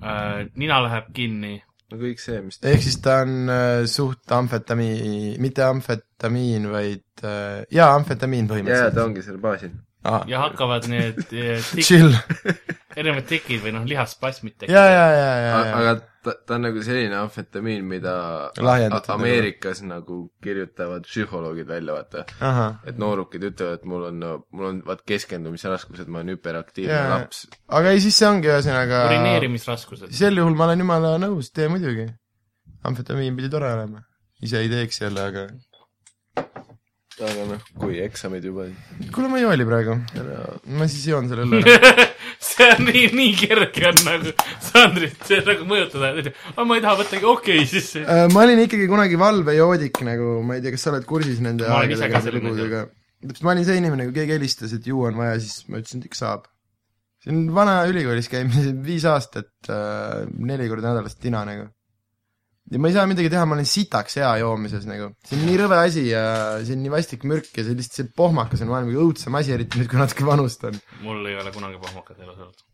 Speaker 2: äh, , nina läheb kinni ,
Speaker 4: no kõik see , mis
Speaker 3: ehk siis ta on äh, suht amfetamiin , mitte amfetamiin , vaid äh, jaa , amfetamiin
Speaker 4: jaa ,
Speaker 3: põhimõtteliselt
Speaker 4: ta . ongi seal baasil .
Speaker 3: Ah,
Speaker 2: ja hakkavad need eh, tikk,
Speaker 3: chill ,
Speaker 2: erinevad tikid või noh , lihasspasmid
Speaker 3: ja ,
Speaker 2: tekivad .
Speaker 3: ja , ja , ja , ja ,
Speaker 4: aga ta , ta on nagu selline amfetamiin , mida
Speaker 3: Lahjendatud
Speaker 4: A- Ameerikas nagu kirjutavad psühholoogid välja , vaata .
Speaker 3: ahah .
Speaker 4: et noorukid ütlevad , et mul on , mul on vaat keskendumisraskused , ma olen hüperaktiivne
Speaker 3: Jaa.
Speaker 4: laps .
Speaker 3: aga ei , siis see ongi ühesõnaga ,
Speaker 2: urineerimisraskused .
Speaker 3: sel juhul ma olen jumala nõus , tee muidugi . amfetamiin pidi tore olema . ise ei teeks jälle , aga
Speaker 4: aga noh , kui eksamid juba
Speaker 3: kuule , ma ei jooli praegu . ma siis joon selle õlle ära .
Speaker 2: see on nii , nii kerge on nagu Sandrit see nagu mõjutada , ma ei taha võttagi , okei okay, , siis see-
Speaker 3: Äh, ma olin ikkagi kunagi valvejoodik nagu , ma ei tea , kas sa oled kursis nende
Speaker 2: Ma olen ise ka
Speaker 3: aegadega , nende
Speaker 2: selline
Speaker 3: lugudega . täpselt , ma olin see inimene , kui keegi helistas , et juua on vaja , siis ma ütlesin , et ikka saab . see on vana ülikoolis käimine , viis aastat äh, , neli korda nädalas tina nagu . ja ma ei saa midagi teha , ma olen sitaks hea joomises nagu . see on nii rõve asi ja see on nii vastik mürk ja see lihtsalt , see pohmakas on maailma kõige õudsem asi , eriti nüüd , kui natuke vanust on .
Speaker 2: mul ei ole kunagi pohmakat elus olnud .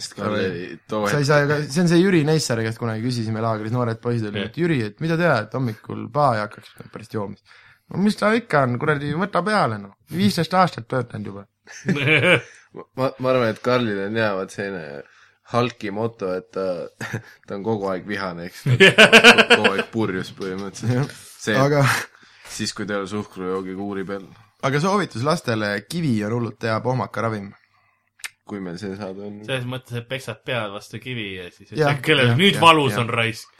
Speaker 4: sest Karl oli too
Speaker 3: sa ei
Speaker 4: hetk ,
Speaker 3: saa ju ka , see on see Jüri Neissaare käest kunagi küsisime laagris , noored poisid olid , et Jüri , et mida teha , et hommikul paa ei hakkaks pärast joomist . no mis ta ikka on , kuradi , võta peale noh , viisteist aastat töötanud juba .
Speaker 4: ma , ma arvan , et Karlil on hea , vot selline halki moto , et ta , ta on kogu aeg vihane , eks ta on kogu aeg purjus põhimõtteliselt . see aga... ,
Speaker 3: aga ,
Speaker 4: siis kui ta ei ole suhkrujoogi kuuri peal ,
Speaker 3: aga soovitus lastele , kivi on hullult hea pohmakaravim .
Speaker 4: kui meil see saade on .
Speaker 2: selles mõttes , et peksad pead vastu kivi ja siis
Speaker 3: Jah,
Speaker 2: ütled , kellel
Speaker 3: jah,
Speaker 2: nüüd
Speaker 3: jah,
Speaker 2: valus
Speaker 3: jah.
Speaker 2: on raisk .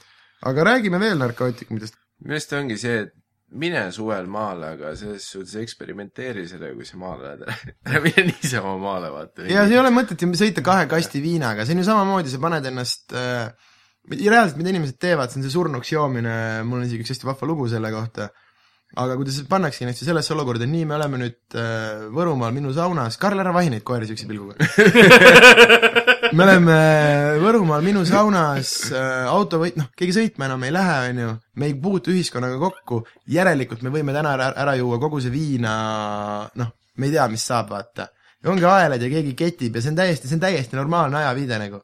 Speaker 3: aga räägime veel narkootikumidest .
Speaker 4: minu arust ongi see , et mine suvel maale , aga selles suhtes eksperimenteeri sellega , kui sa maale lähed . ära mine niisama maale , vaata .
Speaker 3: ja see ei ole mõtet ju sõita kahe kasti viinaga , see on ju samamoodi , sa paned ennast äh, , reaalselt mida inimesed teevad , see on see surnuks joomine , mul on isegi üks hästi vahva lugu selle kohta , aga kuidas pannakse ennast ju sellesse olukorda , nii me oleme nüüd äh, Võrumaal minu saunas , Karl , ära vahi neid koeri siukse pilguga me oleme Võrumaal minu saunas , auto või noh , keegi sõitma enam ei lähe , on ju , me ei puutu ühiskonnaga kokku , järelikult me võime täna ära, ära juua kogu see viina , noh , me ei tea , mis saab , vaata . ongi aelad ja keegi ketib ja see on täiesti , see on täiesti normaalne ajaviide nagu .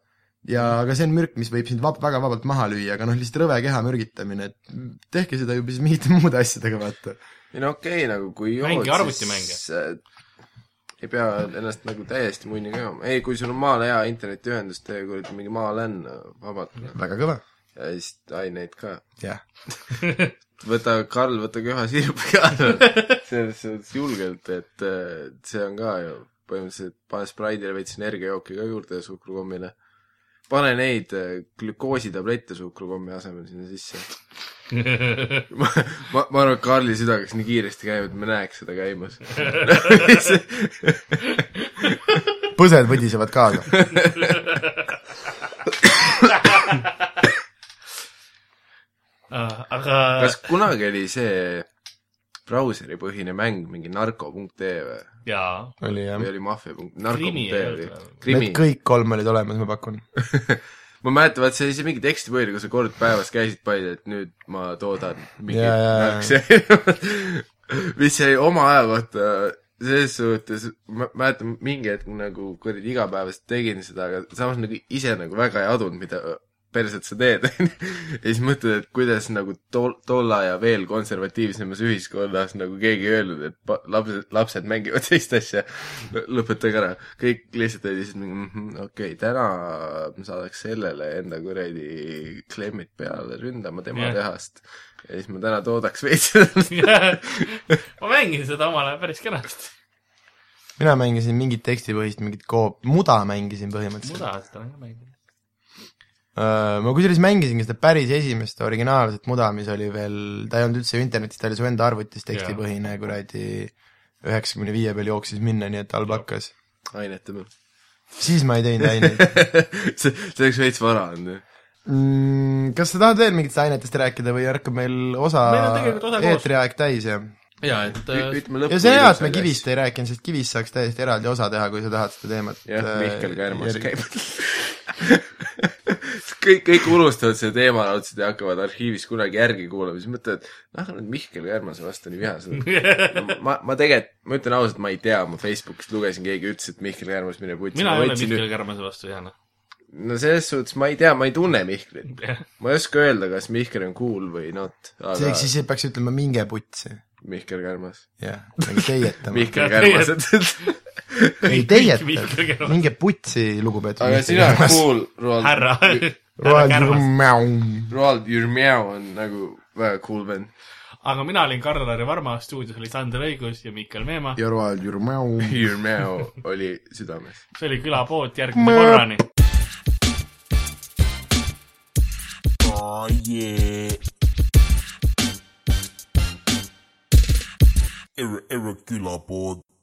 Speaker 3: ja , aga see on mürk , mis võib sind vab- , väga vabalt maha lüüa , aga noh , lihtsalt rõve keha mürgitamine , et tehke seda juba siis mingite muude asjadega , vaata .
Speaker 4: ei no okei okay, , nagu kui jood ,
Speaker 2: Mängi arvutimänge.
Speaker 4: siis äh, ei pea ennast nagu täiesti munni ka , ei , kui sul on maal hea internetiühendus , tee kuradi mingi maalänn , vabalt .
Speaker 3: väga kõva ,
Speaker 4: ja siis aineid ka .
Speaker 3: jah .
Speaker 4: võta , Karl , võta köha sirp ka . selles suhtes julgelt , et äh, see on ka ju põhimõtteliselt , pane Sprite'ile veits energiajooki ka juurde suhkrukommile . pane neid äh, glükoositablette suhkrukommi asemel sinna sisse ma , ma , ma arvan , et Karli süda hakkas nii kiiresti käima , et me näeks seda käimas .
Speaker 3: põsed võdisevad kaasa .
Speaker 2: Ah, aga
Speaker 4: kas kunagi oli see brauseripõhine mäng mingi narko.ee või ,
Speaker 2: jaa ,
Speaker 3: oli jah
Speaker 4: või . oli maffia punkt ,
Speaker 2: Krimi
Speaker 4: narko.ee
Speaker 2: ei
Speaker 4: oli
Speaker 2: olnud või? ,
Speaker 4: krimi
Speaker 3: Need . kõik kolm olid olemas , ma pakun .
Speaker 4: ma mäletan , vaat see oli see mingi tekstipõhine , kus sa kord päevas käisid palju , et nüüd ma toodan
Speaker 3: Jaa, jaa,
Speaker 4: mingit narkse . mis jäi oma aja kohta selles suhtes , ma mäletan mingi hetk nagu kuradi igapäevaselt tegin seda , aga samas nagu ise nagu väga ei adunud , mida perset sa teed , onju . ja siis mõtled , et kuidas nagu tol- , tolle aja veel konservatiivsemas ühiskonnas nagu keegi ei öelnud , et pa- lapsed , lapsed mängivad sellist asja , lõpetage ära . kõik lihtsalt olid lihtsalt mingi mm -hmm, okei okay, , täna ma saadaks sellele enda kuradi klemmid peale ründama tema
Speaker 2: Jah.
Speaker 4: yeah. tehast . ja siis ma täna toodaks veits seda .
Speaker 2: ma mängin seda omal ajal päris kenasti .
Speaker 3: mina mängisin mingit tekstipõhist , mingit koop- , muda mängisin põhimõtteliselt .
Speaker 2: muda seda olen ka mänginud .
Speaker 3: ma kusjuures mängisingi seda päris esimest originaalset muda , mis oli veel , ta ei olnud üldse ju internetis , ta oli su enda arvutis tekstipõhine kuradi üheksakümne viie peal jooksis minna , nii et halb hakkas .
Speaker 4: ainete peal .
Speaker 3: siis ma ei teinud aineid
Speaker 4: see , see oleks veits vara olnud .
Speaker 3: mm, . kas sa tahad veel mingitest ainetest rääkida või hakkab meil osa
Speaker 2: Meil on tegelikult osa koos.
Speaker 3: eetriaeg täis ja ?
Speaker 2: jaa , et äh,
Speaker 4: ütleme lõppu .
Speaker 3: ja see on hea , et me kivist ei rääkinud , sest kivist saaks täiesti eraldi osa teha , kui sa tahad seda teemat äh,
Speaker 4: jah , Mihkel Kärmas
Speaker 3: järgi-
Speaker 4: käib . kõik , kõik unustavad selle teema raudselt ja hakkavad arhiivis kunagi järgi kuulama , siis mõtlevad , noh , nüüd Mihkel Kärmase vastu nii vihased . ma , ma tegelikult , ma ütlen ausalt , ma ei tea , ma Facebookist lugesin , keegi ütles , et Mihkel Kärmas mine putsi .
Speaker 2: mina ei ole Mihkel Kärmase vastu vihane .
Speaker 4: no selles suhtes ma ei tea , ma ei tunne Mihklit . ma ei oska öelda , kas Mihkel on cool või not ,
Speaker 3: see
Speaker 4: aga
Speaker 3: ehk siis peaks ütlema minge putsi ,
Speaker 4: Mihkel Kärmas .
Speaker 3: jah , minge teietama .
Speaker 4: Mihkel Kärmas .
Speaker 3: ei
Speaker 2: Mihkel
Speaker 3: teieta ,
Speaker 2: Kärmas.
Speaker 3: minge putsi , lugupeetud .
Speaker 4: aga sina oled . cool , Roald ,
Speaker 2: härra , härra Kärmas .
Speaker 3: aga
Speaker 4: Roald Jürmjau on nagu väga cool vend .
Speaker 2: aga mina olin Karl-Lari Varma , stuudios oli Sander Õigus ja Mihkel Meemaa .
Speaker 3: ja Roald Jürmäu .
Speaker 4: Jürmjau oli südames .
Speaker 2: see oli külapood järgmise korrani .
Speaker 1: Oh yeah. Ir- irregular board.